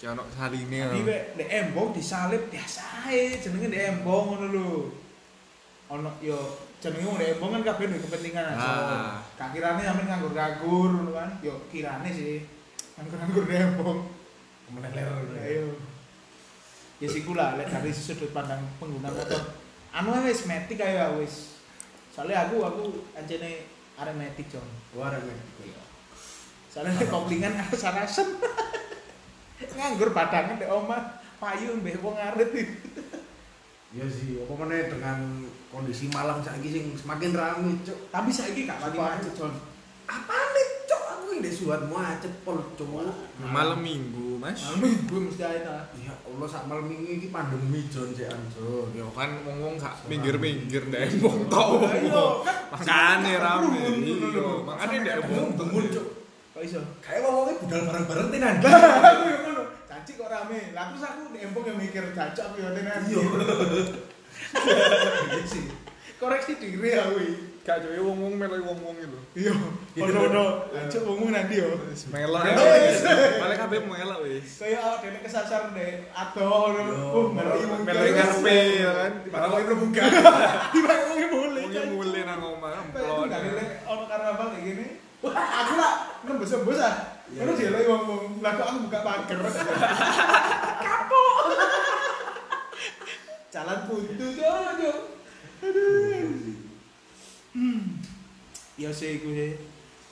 Speaker 3: Ki ono saline.
Speaker 2: Jadi kayak di embong disalip biasa ae, jenenge di embong ngono lho. Ono yo jenenge wong di embong kan kabeh duwe kepentingan aja.
Speaker 3: Ah.
Speaker 2: Kakirane sampe nganggur-nganggur ngono kan. Yo kirane sih nganggur-nganggur di embong.
Speaker 1: Meler,
Speaker 2: Ayo. Ya siku lah lek dari sudut pandang pengguna motor. Anu ae wis metik ae ya, wis. Soalnya aku aku ancene arek metik jong.
Speaker 1: Luar ya,
Speaker 2: Soalnya nek koplingan karo sarasen. Nganggur badangan ndek omah, payu mbek wong arit iki.
Speaker 1: Iya sih, apa meneh dengan kondisi Malang saiki sing semakin rame, Cuk.
Speaker 2: Tapi saiki gak pati
Speaker 1: Sumpah.
Speaker 2: macet, Jon.
Speaker 1: Apane, Cuk? Aku ini suat macet pol, Cuk.
Speaker 3: Malam minggu, Mas.
Speaker 2: Malu ibu mesti ae ta.
Speaker 1: Ya Allah, sak malam ini iki pandemi Jon sik anjur.
Speaker 3: Yo kan wong-wong gak minggir-minggir dembong tok wong.
Speaker 2: kan
Speaker 3: Makane rame.
Speaker 2: Kerungun, ngono
Speaker 3: Iya,
Speaker 2: lho.
Speaker 3: makane
Speaker 1: Sampai
Speaker 3: ndek
Speaker 1: ada
Speaker 3: wong
Speaker 1: bungun, Cuk.
Speaker 2: Kok iso?
Speaker 1: Kayak ngomongnya budal bareng-bareng tenan.
Speaker 2: Aku yo ngono. Caci kok rame. Lah terus aku ndek embong yang mikir cacok aku yo tenan.
Speaker 1: Iya.
Speaker 2: Iya sih. Koreksi diri aku iki.
Speaker 3: gak jowe wong-wong melu wong-wong iki lho.
Speaker 2: Iya, ono-ono. Lanjut ngomong nanti yo.
Speaker 3: Melok.
Speaker 2: Melok,
Speaker 3: wis.
Speaker 2: wis.
Speaker 3: Malah kabeh melok wis.
Speaker 2: Saya awak dene kesasar deh. Atau ono. Uh, mari mungkin.
Speaker 3: Melu ngarepe ya kan.
Speaker 1: Malah kowe buka.
Speaker 2: Dibangungi boleh.
Speaker 3: Wong mulih nang omah.
Speaker 2: Kalau
Speaker 3: emplon.
Speaker 2: dari ono karnaval kayak gini. Wah, aku lah nembus-nembus ah.
Speaker 1: Iya.
Speaker 2: Terus dia lagi ngomong, lah kok aku buka pagar. Kapok. Jalan buntu tuh, tuh. Hmm. ya sih iku sih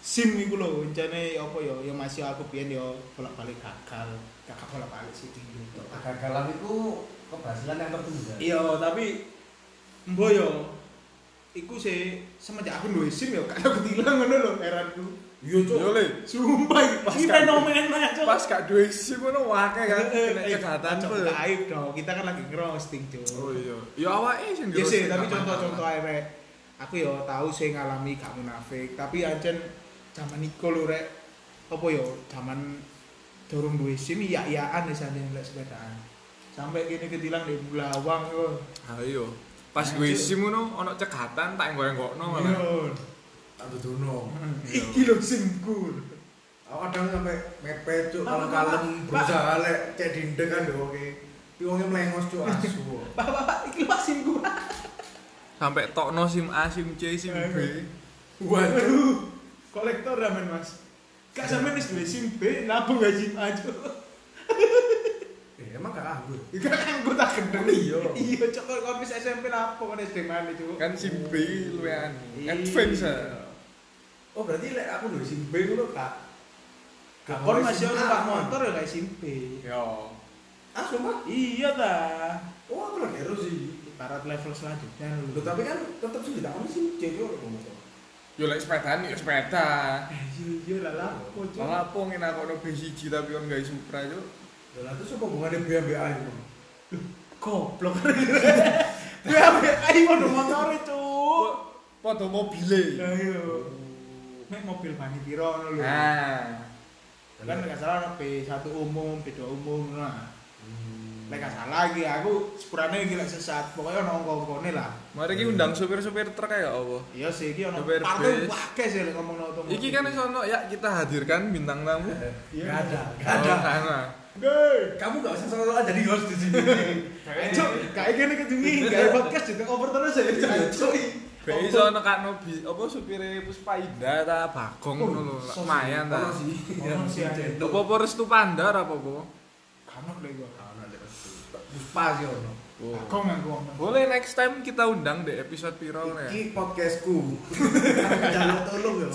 Speaker 2: sim iku lho encane apa ya ya masih aku biyen ya bolak-balik gagal gagal bolak-balik sih di YouTube
Speaker 1: Kegagalan itu keberhasilan yang tertunda.
Speaker 2: iya tapi mbo yo iku sih semenjak aku duwe sim ya kayak ketilang ngono lho heranku
Speaker 1: Iya, Cuk.
Speaker 3: Yo le.
Speaker 2: sumpah iki-
Speaker 3: Pas
Speaker 2: iki
Speaker 3: kan-
Speaker 2: fenomena Cuk.
Speaker 3: Pas gak duwe sim ngono wae kan
Speaker 2: Eh,
Speaker 3: kena
Speaker 2: eh,
Speaker 3: cekatan
Speaker 2: Cuk,
Speaker 3: tuh.
Speaker 2: gak aib dong kita kan lagi ngerosting Cuk.
Speaker 3: Oh iya. Ya awake sing
Speaker 2: Iya
Speaker 3: diurus,
Speaker 2: sih, tapi
Speaker 3: gak masalah.
Speaker 2: contoh-contoh ae rek. Aku yo tahu sih ngalami gak munafik, tapi ancen zaman iku lho rek. Apa yo zaman dorong duwe SIM iya-iyaan wis ane lek sepedaan. Sampai kene ketilang di Bulawang yo.
Speaker 3: Ayo. Pas gue sim ngono ono cekatan tak enggok-enggokno Oh, malah.
Speaker 2: Yo.
Speaker 1: Tak dudono.
Speaker 2: Iki lho SIMku.
Speaker 1: Aku kadang sampai mepet, Cuk,
Speaker 2: Pak,
Speaker 1: kalau kalem
Speaker 2: Pak.
Speaker 1: berusaha lek cek dinding kan yo oke. Tapi wongnya melengos, Cuk, asu.
Speaker 2: Pak, pak, pak, iki lho Pak SIMku.
Speaker 3: Sampai tokno sim A, sim C, sim B.
Speaker 1: Waduh.
Speaker 2: Kolektor ramen Mas. Gak sampe wis duwe SIM B, nabung gaji aja.
Speaker 1: Eh, emang gak anggur?
Speaker 2: Iku kan gue tak gendeng.
Speaker 1: Oh, iya.
Speaker 2: Iya, cok kon wis SMP lapo kon SD mana cuk.
Speaker 3: Kan sim B luwe anu.
Speaker 2: Iya.
Speaker 3: Advance. ah.
Speaker 1: Oh berarti lek aku duwe sim B ngono kak. Gak
Speaker 2: Kon
Speaker 1: oleh
Speaker 2: masih
Speaker 1: SIM
Speaker 2: ono
Speaker 1: A,
Speaker 2: pak
Speaker 1: kan?
Speaker 2: motor ya kayak simpe.
Speaker 3: Yo.
Speaker 1: Ah sumpah.
Speaker 2: Iya ta.
Speaker 1: Oh aku lagi error sih.
Speaker 2: Barat level selanjutnya
Speaker 1: Loh, tapi kan tetep sih ditakoni sim C yo motor.
Speaker 3: Yo lek sepedaan yo sepeda.
Speaker 2: Eh, Iya iya lah lapo cuk.
Speaker 3: Malah apa ngenakno B1 tapi on gawe Supra yo.
Speaker 1: Lah terus apa hubungannya B ambek A itu?
Speaker 2: Goblok. Gue ambek ayo ono motor cuk.
Speaker 3: Padha mobile.
Speaker 1: Ah.
Speaker 3: Ah.
Speaker 2: Ayo. Nek mobil bani piro ngono lho.
Speaker 3: Nah.
Speaker 2: kan
Speaker 1: Bener.
Speaker 2: nggak salah P1 umum P2 umum nah
Speaker 1: Hmm.
Speaker 2: Lek gak salah lagi aku sepurane iki lek sesat, pokoknya ono ngkongkone lah.
Speaker 3: Mari ki undang supir-supir truk ya apa?
Speaker 2: Iya sih iki ono
Speaker 3: DPRD.
Speaker 2: partai akeh sih lek ngomongno otomotif.
Speaker 3: Iki kan sono ya kita hadirkan bintang tamu.
Speaker 2: Iya.
Speaker 1: Gak ada, gak ada.
Speaker 3: Oh, sana.
Speaker 2: Guys,
Speaker 1: Kamu gak usah soal jadi host di sini.
Speaker 2: cuk, kayak gini ketemu kayak podcast juga over terus ya, cuk.
Speaker 3: Bei sono Kak Nobi, apa supire Puspa Indah ta Bagong
Speaker 2: Oh,
Speaker 3: ngono lho. lak
Speaker 2: sono.
Speaker 3: Lumayan ta.
Speaker 1: Ono sih,
Speaker 2: Ono
Speaker 1: ono sih.
Speaker 2: sih, ada.
Speaker 1: Cendol.
Speaker 3: Apa apa restu pandar apa apa?
Speaker 2: Kanok deh gua.
Speaker 1: Ono, Dek. Puspa sih ono.
Speaker 2: Aku nggak gua ngomong.
Speaker 3: Boleh next time kita undang deh episode piro ya.
Speaker 1: Iki podcastku. Aku jaluk tolong ya.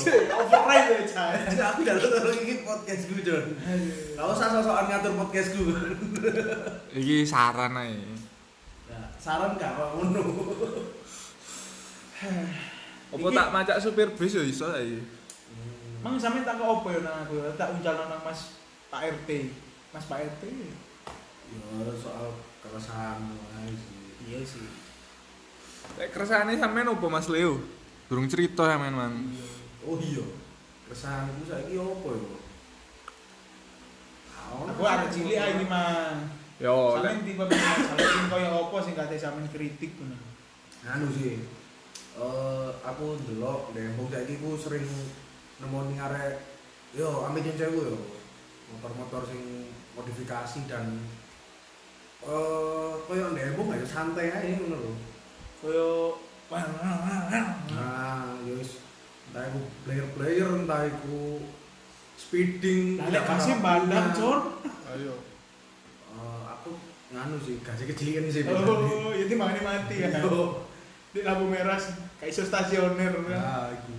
Speaker 2: Override ya, cah.
Speaker 1: Jadi aku jaluk tolong iki podcastku, Jon. Gak usah sosokan ngatur podcastku.
Speaker 3: Iki saran ae.
Speaker 1: Nah, saran gak apa ngono. Hmm.
Speaker 3: Apa
Speaker 2: Iki-
Speaker 3: tak macak supir bis yo iso ta iki.
Speaker 2: Mang sampe tak kok opo ya nang aku, ya? tak unjal nang Mas Pak RT. Mas Pak RT.
Speaker 1: Ya soal keresahan wae sih.
Speaker 2: Iya sih.
Speaker 3: Lek keresahane sampean opo Mas Leo? Durung cerita sampean Mang.
Speaker 1: Oh iya. Keresahanku saiki opo ya?
Speaker 2: Aku arek cilik ae iki, Mang.
Speaker 3: Yo Oh, lek
Speaker 2: Sampeyan tipe masalah sing kaya apa sing kate sampeyan kritik ngono.
Speaker 1: anu sih eh aku delok deh wong saiki ku sering nemoni arek yo ambil jenjang yo motor-motor sing modifikasi dan eh koyo demo gak ya, santai aja ngono lho
Speaker 2: Kaya
Speaker 1: nah yo wis entah iku player-player entah iku speeding Nah.
Speaker 2: Lek
Speaker 1: tidak
Speaker 2: kasih
Speaker 1: kenal
Speaker 2: bandang,
Speaker 1: waktunya.
Speaker 2: Cur.
Speaker 3: ayo.
Speaker 1: Eh, aku nganu sih kasih kecilin sih
Speaker 2: Oh, ya timbangannya mati ya.
Speaker 1: Yo.
Speaker 2: Di lampu merah kayak iso stasioner. ya.
Speaker 1: nah iku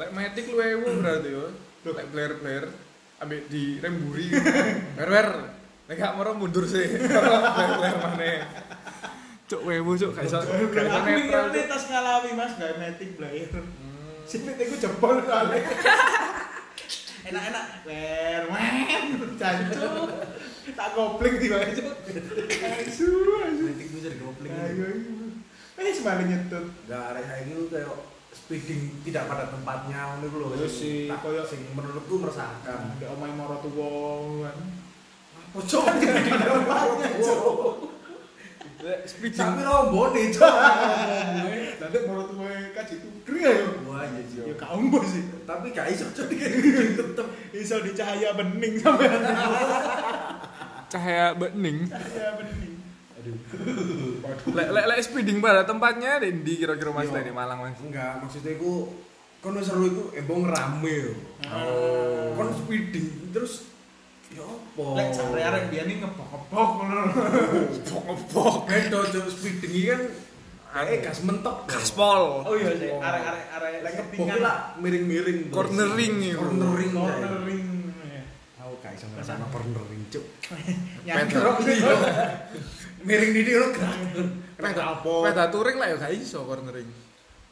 Speaker 3: Lek metik lu ewu berarti yo. Lek player-player ambek di remburi. Wer-wer. Lek gak moro mundur sih. Player-player maneh. Cuk wewu cuk gak iso.
Speaker 2: Aku
Speaker 3: Gak iso netral.
Speaker 2: mikirnya
Speaker 3: Cuk.
Speaker 2: tas ngalami Mas, gak metik player.
Speaker 3: Hmm.
Speaker 2: Sipit iku jebol soalnya. Enak-enak. Wer, wer, jancuk. Tak kopling tiba aja. Asu, asu.
Speaker 1: kritik gue jadi gopling
Speaker 2: Ayo, ayo. Eh, semaling nyetut.
Speaker 1: Enggak, arek saiki ku kayak speeding tidak pada tempatnya ngono iku lho.
Speaker 2: Iya sih,
Speaker 1: Tak-
Speaker 2: kayak-
Speaker 1: sing menurutku meresahkan.
Speaker 2: Ada omai moro tuwo kan.
Speaker 1: Pojok kan jadi di tempatnya.
Speaker 3: Lek speeding
Speaker 1: Sampai rombone, Cok.
Speaker 3: eh.
Speaker 2: Nanti moro tuwo kaji tukri ya. yo.
Speaker 1: Wah, iya sih.
Speaker 2: Ya gak ombo sih.
Speaker 1: Tapi gak iso Cok kayak tetep.
Speaker 2: Iso di cahaya bening sampean.
Speaker 3: cahaya bening.
Speaker 2: Cahaya bening.
Speaker 1: Aduh.
Speaker 3: Lek lek lek speeding pada tempatnya di ndi kira-kira Mas
Speaker 1: Yo.
Speaker 3: dari Malang Mas.
Speaker 1: Enggak, maksudnya iku kono seru iku embong rame yo.
Speaker 2: Oh.
Speaker 1: Kon speeding terus ya apa?
Speaker 2: Lek sampe arek biyen iki ngebok-ngebok ngono.
Speaker 3: Bok-bok.
Speaker 1: Beda Cok speeding iki kan kayak gas mentok. Cok.
Speaker 3: Gaspol.
Speaker 2: Oh iya sih, arek-arek arek
Speaker 1: Lek
Speaker 2: lek
Speaker 1: ngebok
Speaker 2: ketingan
Speaker 1: lah miring-miring.
Speaker 3: Cornering iku.
Speaker 1: Cornering. Cornering.
Speaker 2: cornering.
Speaker 1: Aku gak iso ngrasakno cornering, Cuk.
Speaker 2: Nyangkrok sih.
Speaker 1: Iya. Miring di dia lo gerak. Kena gak apa.
Speaker 3: Peda touring lah ya gak iso cornering.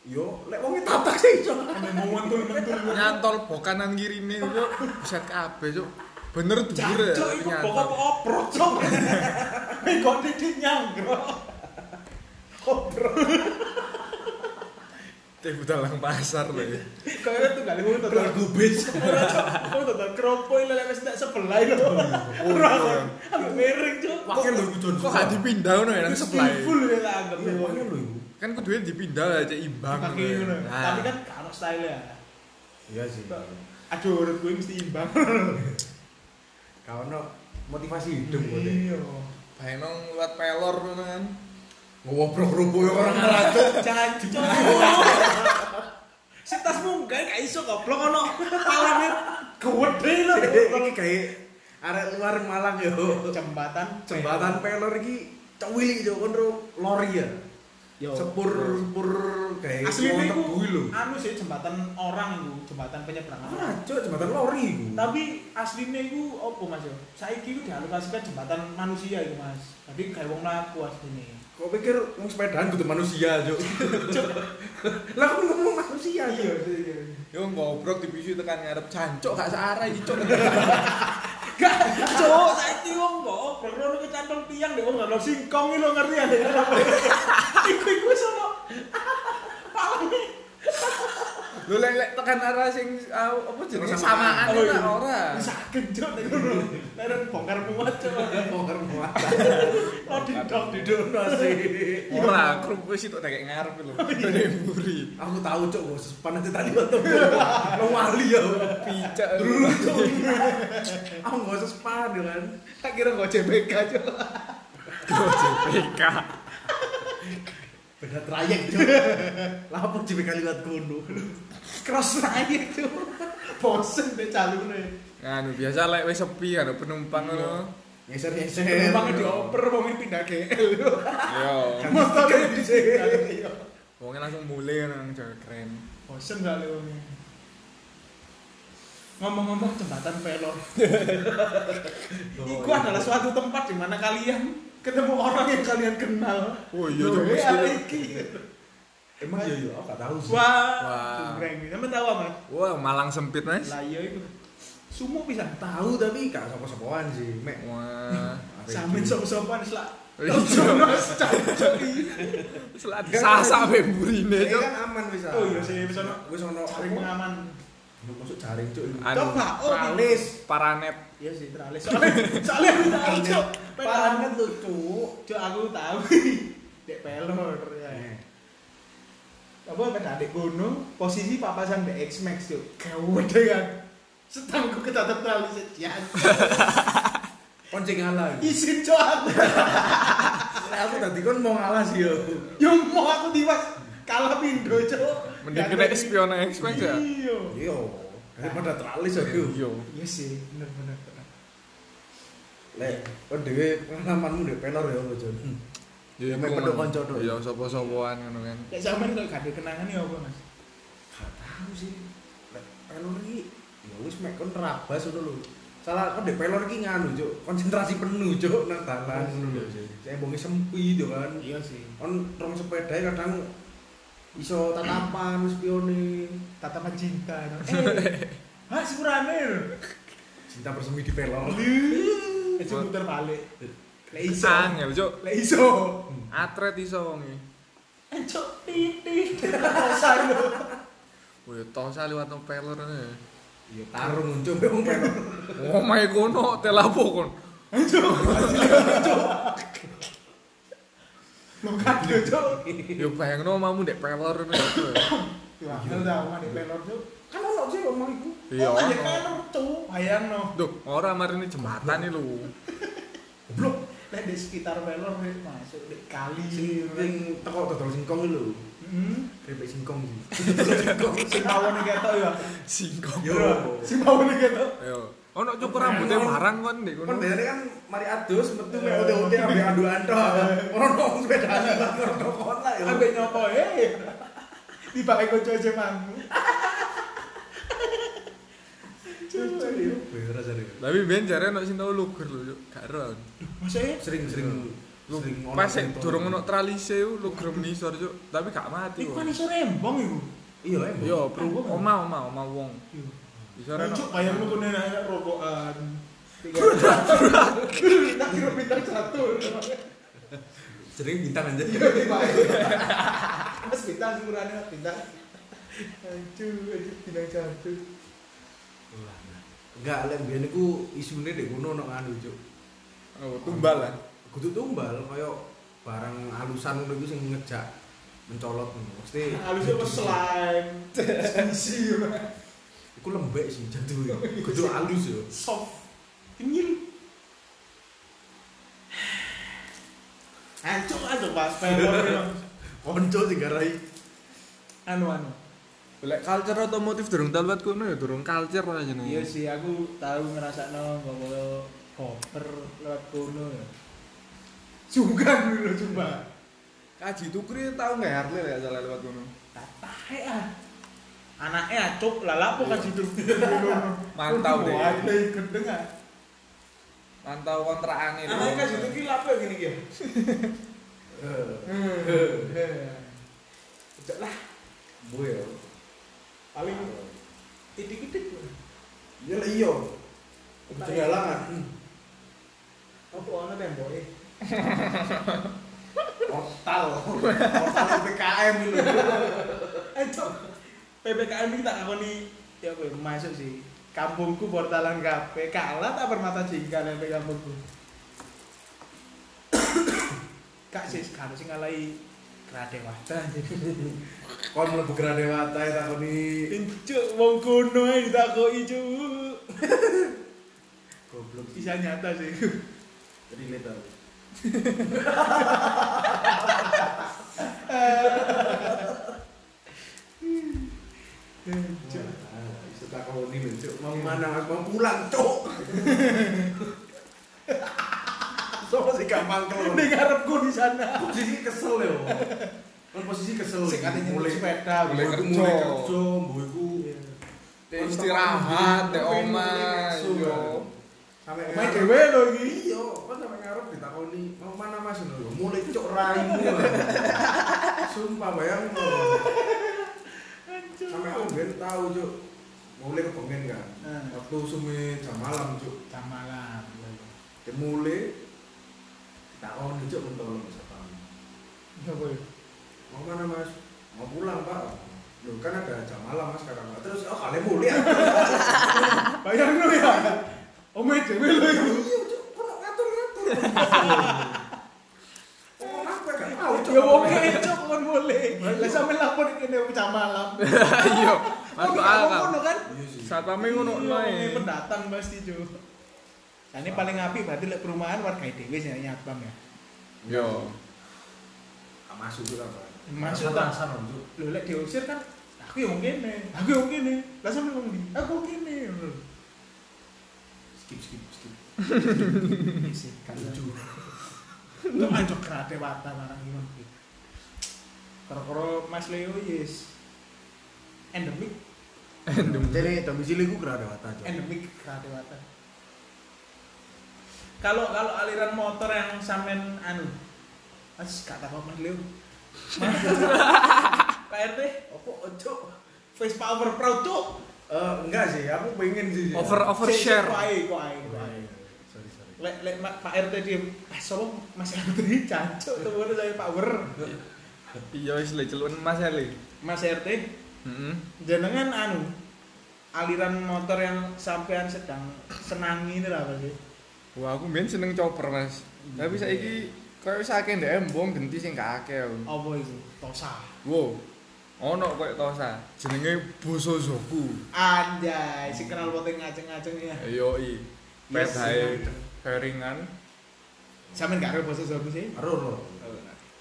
Speaker 1: Yo, lek wong tatak sih iso.
Speaker 2: Sampe momentum-momentum.
Speaker 3: Nyantol bok kanan kirine cuk. Buset kabeh cuk. Bener dhuwur ya.
Speaker 2: Jancuk iku bokok apa oprok cok. Kok didik nyangkrok. Oprok.
Speaker 3: Teh budalang pasar lho ya.
Speaker 2: Kayaknya tuh gak lewat total
Speaker 1: Terus gubis.
Speaker 2: Aku total kerompok ini lewat sedak sebelah itu. Orang aku miring cok.
Speaker 1: Pakai lho iku Jon.
Speaker 3: Kok gak dipindah ngono ya nang sebelah. ya?
Speaker 2: Full ya tak anggap.
Speaker 1: Iya, pakai lho iku.
Speaker 3: Kan kudu dipindah aja imbang.
Speaker 2: Kaki
Speaker 3: ngono ya.
Speaker 2: ngono.
Speaker 3: Nah.
Speaker 2: Tapi kan gak ono style ya.
Speaker 1: Iya sih.
Speaker 2: Aduh urut gue mesti imbang.
Speaker 1: Kaono motivasi hidup kowe.
Speaker 3: bayangno lewat pelor ngono kan.
Speaker 1: Ngobrol rubuh yo orang arah.
Speaker 2: Cacu. Si tasmu gak gak iso goblok ono. Palane gede lho.
Speaker 1: Iki kayak arek luar Malang yo.
Speaker 2: Jembatan
Speaker 1: Jembatan pelor iki cewili yo kon ro lori ya.
Speaker 2: Yo.
Speaker 1: Sepur sepur kayak wong
Speaker 2: Aslinya iku
Speaker 1: tebu lho.
Speaker 2: anu sih jembatan orang iku, jembatan penyeberangan. orang.
Speaker 1: Ah, cok jembatan lori iku.
Speaker 2: Tapi aslinya itu apa mas yo? Saiki itu dialokasikan jembatan manusia itu mas. Tapi kayak wong laku aslinya.
Speaker 1: Kau pikir wong sepedaan butuh manusia, Cuk? lah kok ngomong manusia, Cuk?
Speaker 2: iya.
Speaker 3: Yo ngobrol di pisu tekan ngarep jancuk gak searah iki cuk.
Speaker 2: Gak, cowok saiki wong kok perlu lu kecantol tiang deh wong gak lo singkong ini lo ngerti ya? Iku iku sono. Paling
Speaker 3: Lho lek lek tekan arah sing ah, apa jenenge
Speaker 1: Persamaan.
Speaker 3: samaan
Speaker 2: Oh,
Speaker 3: ora
Speaker 2: iya.
Speaker 3: ora.
Speaker 2: sakit cok nek ngono. Nek ora bongkar muat Oh, cok.
Speaker 1: Bongkar muat.
Speaker 2: Lo didok didono sih.
Speaker 3: Ora krupu wis tok nek ngarep lho.
Speaker 2: Oh,
Speaker 3: Nek mburi.
Speaker 1: Aku tahu cok, gue sesepan aja tadi ketemu. Lo wali ya.
Speaker 3: Picak.
Speaker 1: Dulu cok. Aku gak sesepan ya kan.
Speaker 2: Tak kira kok JBK cok.
Speaker 3: JPK.
Speaker 1: Beda trayek cok. Lapor JBK liwat kono.
Speaker 2: Cross naik cok. Bosen deh ya. calune.
Speaker 3: Anu biasa lek wis sepi kan penumpang ngono.
Speaker 1: Nyeser nyeser.
Speaker 2: Penumpangnya dioper wong pindah GL.
Speaker 3: Yo.
Speaker 2: Motornya di Iya.
Speaker 3: Wonge langsung mulai nang jalan keren.
Speaker 2: Bosen gak lho ini. Ngomong-ngomong jembatan pelor.
Speaker 1: Oh,
Speaker 2: Iya. Iku adalah suatu tempat di mana kalian ketemu orang yang kalian kenal.
Speaker 3: Oh iya,
Speaker 2: Loh,
Speaker 3: Cok,
Speaker 2: iya,
Speaker 3: mesti.
Speaker 2: iki.
Speaker 1: Emang iya iya, aku gak tahu sih.
Speaker 3: Wah.
Speaker 2: Wah, keren. Sampe tahu apa?
Speaker 3: Wah, Malang sempit, Mas.
Speaker 2: Lah iya iku. Sumo pisan.
Speaker 1: Tahu tapi gak sopo-sopoan sih. Mek.
Speaker 3: Wah.
Speaker 2: Samin sop-sopan wis lah.
Speaker 3: Iya.
Speaker 2: Terus cancuk iki.
Speaker 3: Selat sasa be mburine,
Speaker 1: Saya
Speaker 3: Cok.
Speaker 1: kan aman bisa.
Speaker 2: Eh, Oh iya sih, wis ono-
Speaker 1: Wis ono
Speaker 2: Cari pengaman.
Speaker 1: Lu masuk jaring cuk. ini.
Speaker 3: Anu,
Speaker 2: Coba, oh,
Speaker 3: Paranet. Paranet.
Speaker 2: Iya sih, terlalu soalnya soalnya aku tahu cok.
Speaker 1: Paranet
Speaker 2: Pelor.
Speaker 1: lu cuk.
Speaker 2: Cok aku tahu. Dek pelor ya.
Speaker 3: Hmm.
Speaker 1: Eh,
Speaker 2: Apa kata adik gono posisi papasan dek X Max cok. Gawede kan. Setangku ketatap terlalu sejian.
Speaker 1: Koncing ngalah.
Speaker 2: Ya, Isin cok aku.
Speaker 1: Lah aku tadi kan mau ngalah sih yo.
Speaker 2: Yo mau aku tiwas kalah pindo cok.
Speaker 3: Mending
Speaker 2: Gak
Speaker 3: kena
Speaker 2: jadi.
Speaker 3: spion X-Men ya.
Speaker 2: Iya.
Speaker 1: Yo. Daripada teralis aku.
Speaker 3: Yo.
Speaker 2: Iya sih, bener-bener.
Speaker 1: Lek, kon dhewe pengalamanmu ndek pelor ya, Jon.
Speaker 3: Yo
Speaker 1: Main
Speaker 3: iku
Speaker 1: pedok
Speaker 3: ngono.
Speaker 1: konco, Dok.
Speaker 3: Yo sapa-sapaan ngono kan.
Speaker 2: Lek sampean kok gak ada kenangan ya apa Mas?
Speaker 1: Gak tahu sih. Lek pelor iki ya wis mek kon rabas ngono lho. Salah kon ndek pelor iki nganu, Cuk. Konsentrasi penuh, Cuk, nang dalan Oh, ngono lho. Cembonge sempit yo kan.
Speaker 2: Iya sih.
Speaker 1: Kon rong sepeda kadang iso tatapan spione.
Speaker 2: Tatapan cinta. no. Eh. Hah, si Puranir.
Speaker 1: Cinta bersemi di pelor.
Speaker 2: Eh, si puter balik. Lek iso.
Speaker 3: Angel, Cok.
Speaker 2: Lek iso.
Speaker 3: Atret iso wonge.
Speaker 2: Encok titik. Rasane.
Speaker 3: Wih, tosa liwat nang pelor ne.
Speaker 1: Iya, tarung Cuk, wong pelor.
Speaker 3: Oh my kono telapo kon.
Speaker 2: Lo kado, Cok.
Speaker 3: Yo bayangno omamu ndek pelor ne. Cok.
Speaker 2: Wah, lu tau kan di pelor, Cok.
Speaker 1: Kan ono sih omong iku.
Speaker 3: Iya.
Speaker 2: Oh, ada
Speaker 3: ono.
Speaker 2: pelor, Cok. Bayangno.
Speaker 3: Duh, ora marini jembatan iki lho.
Speaker 1: Goblok.
Speaker 2: Lek di sekitar pelor lek masuk di kali. Hmm?
Speaker 1: Sing teko dodol singkong iki lho.
Speaker 2: Heeh.
Speaker 1: Kripik singkong iki. Dodol singkong.
Speaker 2: Sing pawone ketok ya.
Speaker 3: Singkong.
Speaker 1: Yo.
Speaker 2: Sing pawone ketok.
Speaker 3: Yo. Ono cukur rambutnya barang kon ndek kono.
Speaker 1: Kan biasanya kan mari adus metu mek ote-ote ambek aduan tok. Ora ono wong sepeda liwat ora ono kon lah ya.
Speaker 2: Ambek nyopo, eh. Dipakai konco aja mangmu.
Speaker 1: Cucu, ya. Beres jare.
Speaker 3: Tapi ben jare ono sing tau lugur lho, Cok. Gak ero. aku.
Speaker 2: Maksudnya?
Speaker 1: Sering-sering
Speaker 3: Lu
Speaker 1: sering ono
Speaker 3: pas sik
Speaker 1: sing
Speaker 3: durung
Speaker 1: tolong.
Speaker 3: ono tralise ku lugur menisor, Cuk. Tapi gak mati
Speaker 2: Iku
Speaker 3: kok.
Speaker 2: kan iso rembong iku.
Speaker 1: Iya, em. Yo.
Speaker 3: Yo, bro, oma, oma, oma wong. Iso ora.
Speaker 2: Cuk bayang lu kene nek rokokan. Bintang kira bintang satu.
Speaker 1: Sering bintang aja.
Speaker 2: Mas bintang semurane bintang. Aduh, aduh bintang satu.
Speaker 1: Enggak, lek biyen iku isune ndek kono ono anu, Cuk.
Speaker 3: Oh, tumbal lah.
Speaker 1: Kudu tumbal kaya barang alusan ngono iku sing ngejak mencolot ngono. Mesti
Speaker 2: Halusnya apa slime? Squishy ya.
Speaker 1: Iku lembek sih jatuh. Kudu halus yo.
Speaker 2: Soft. Kenyil. Ancuk aja pas pelor.
Speaker 1: Konco sing garai.
Speaker 2: Anu anu.
Speaker 3: Lek culture otomotif durung dalwat kono ya durung culture aja nih.
Speaker 2: Iya sih, aku tahu ngerasa no koper lewat kono ya. Sungkan dulu coba.
Speaker 3: Kaji Tukri tau nggak Harley lek salah lewat kono.
Speaker 2: Tatai ah. Anaknya acuk lalapo kan situ.
Speaker 3: Mantau deh.
Speaker 2: Ada gendeng ah.
Speaker 3: Mantau kontraane lho.
Speaker 2: Anaknya kan situ ki lapo ya gini ki. Udah lah,
Speaker 1: Gue yo.
Speaker 2: paling titik-titik.
Speaker 1: Iya lah iya. Penjalangan.
Speaker 2: Apa ana temboke?
Speaker 1: Portal. Portal PKM itu.
Speaker 2: Acuk. PPKM ini tak nih ya gue masuk sih kampungku portalan kafe kalah tak permata jingka nih kampungku kak sih sekarang sih ngalahi kerade wadah
Speaker 1: Kon mlebu Granewata ya takoni
Speaker 2: Incuk wong kuno ae ditakoki cuk.
Speaker 1: goblok
Speaker 2: Bisa nyata sih.
Speaker 1: relate aku.
Speaker 2: Cuk.
Speaker 1: Ah, Bisa takoni lho, Cuk. Mau mana Mas? Mau pulang, Cuk. Sopo sih gampang kelon.
Speaker 2: Ning ngarepku di sana.
Speaker 1: Posisi kesel ya. Kon posisi kesel.
Speaker 2: Sing katanya
Speaker 1: Mulai-
Speaker 2: mulai sepeda.
Speaker 3: mulai
Speaker 1: mulai
Speaker 3: kerja.
Speaker 1: mulai kerja, mbuiku
Speaker 2: Iya.
Speaker 3: Teh istirahat, teh
Speaker 1: Pengen
Speaker 3: oma,
Speaker 1: relax,
Speaker 3: yo.
Speaker 1: Sampai
Speaker 2: Main
Speaker 1: ngarep.
Speaker 2: dhewe lho iki.
Speaker 1: Iya, kan sampe ngarep ditakoni, "Mau mana Mas?" lho. Mulai cuk raimu. lah. Sumpah bayang
Speaker 2: Ancuk.
Speaker 1: Sampai aku ben tahu, Cuk. Mulai kepengen kan.
Speaker 2: Nah.
Speaker 1: Waktu semi jam malam, Cuk.
Speaker 2: Jam malam.
Speaker 1: Dimulai ditakoni, Cuk, mentolong siapa.
Speaker 2: Ya boy.
Speaker 1: Mau mana, Mas? Mau pulang, Pak. Loh, kan ada jam malam, Mas, kata Mbak. Terus, oh, kalian mulai. ah."
Speaker 2: Bayang lho ya. Omeh dhewe lho iku.
Speaker 1: Iya, Cuk. Kok ngatur-ngatur? Oh, aku gak mau, Cuk.
Speaker 2: Ya wong e cuk kon mulai. Lah sampe lapor kene jam malam.
Speaker 3: Iya,
Speaker 2: Wong
Speaker 3: masuk
Speaker 2: ngomong
Speaker 3: akal.
Speaker 2: ngono kan?
Speaker 1: Iya sih.
Speaker 3: Satpame ngono
Speaker 2: Iya, ini
Speaker 3: ae.
Speaker 2: pendatang pasti cuy. Nah, ini paling api berarti lek perumahan warga dhewe sing nyabang ya.
Speaker 3: Yo.
Speaker 1: Gak Ah, masuk juga, Pak.
Speaker 2: Masuk, Pak.
Speaker 1: Rasa-rasa, Cuk.
Speaker 2: Lho lek diusir kan aku yang ngene, aku yang ngene. Lah sampe ngomong di, aku ngene.
Speaker 1: Skip, skip, skip.
Speaker 2: Isi kan lucu. Lu anjok kerate wata marang ngono iki. Koro-koro Mas Leo yes. Endemik,
Speaker 1: Jadi, tapi cilik gue kerada wata, Cuk.
Speaker 2: endemik kerate wata. Kalau kalau aliran motor yang sampean anu. Mas kata kok Mas Leo. Mas. Pak RT,
Speaker 1: Apa, Cuk?
Speaker 2: Vespa over proud tuh.
Speaker 1: Eh, enggak sih, aku pengen sih. Cuk.
Speaker 3: Over- Overshare.
Speaker 2: Kok ae, kok ae, kok ae.
Speaker 1: Sorry, sorry.
Speaker 2: lek lek Ma- Pak RT dia pas solo Mas RT cancuk temen saya power
Speaker 3: Iya wis le celuan Mas Ali.
Speaker 2: Mas RT
Speaker 3: Heeh.
Speaker 2: jenengan anu aliran motor yang sampean sedang senangi itu apa sih
Speaker 3: Wah, aku main seneng chopper, Mas. Tapi saiki koyo wis akeh ndek embong genti sing gak akeh. aku.
Speaker 2: apa itu tosa
Speaker 3: Wo. Ono koyo tosa, jenenge Boso Zoku.
Speaker 2: anjay si kenal poteng ngaceng-ngaceng ya
Speaker 3: Yo i. Pedae fairingan.
Speaker 2: sampean gak kebo sesuatu sih
Speaker 1: Aruh, loh.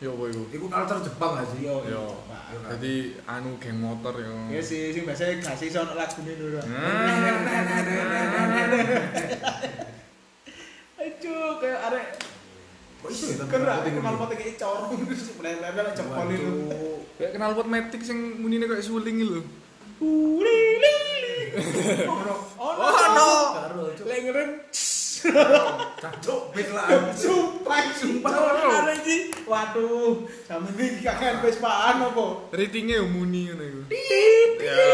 Speaker 3: Yo wo yo.
Speaker 1: Iku culture Jepang gak sih?
Speaker 2: yo
Speaker 3: Yo.
Speaker 2: yo
Speaker 3: Jadi anu geng motor yo. Hmm?
Speaker 2: ya sih sing biasanya gak sih sono lagune lho Aduh, kayak arek
Speaker 1: Kok iso ya?
Speaker 2: kena kenal poteng kayak corong terus bener-bener jempol itu
Speaker 3: Kayak kenal pot metik sing munine koyo suling iki lho.
Speaker 2: Oh no. Oh no. Lek ngerem
Speaker 1: Cacok, bit lah.
Speaker 2: sumpah sumpah ora iki. Waduh, sampe iki kakean Vespaan apa?
Speaker 3: Ratingnya yo muni ngono iku.
Speaker 2: Tit.
Speaker 3: Ya.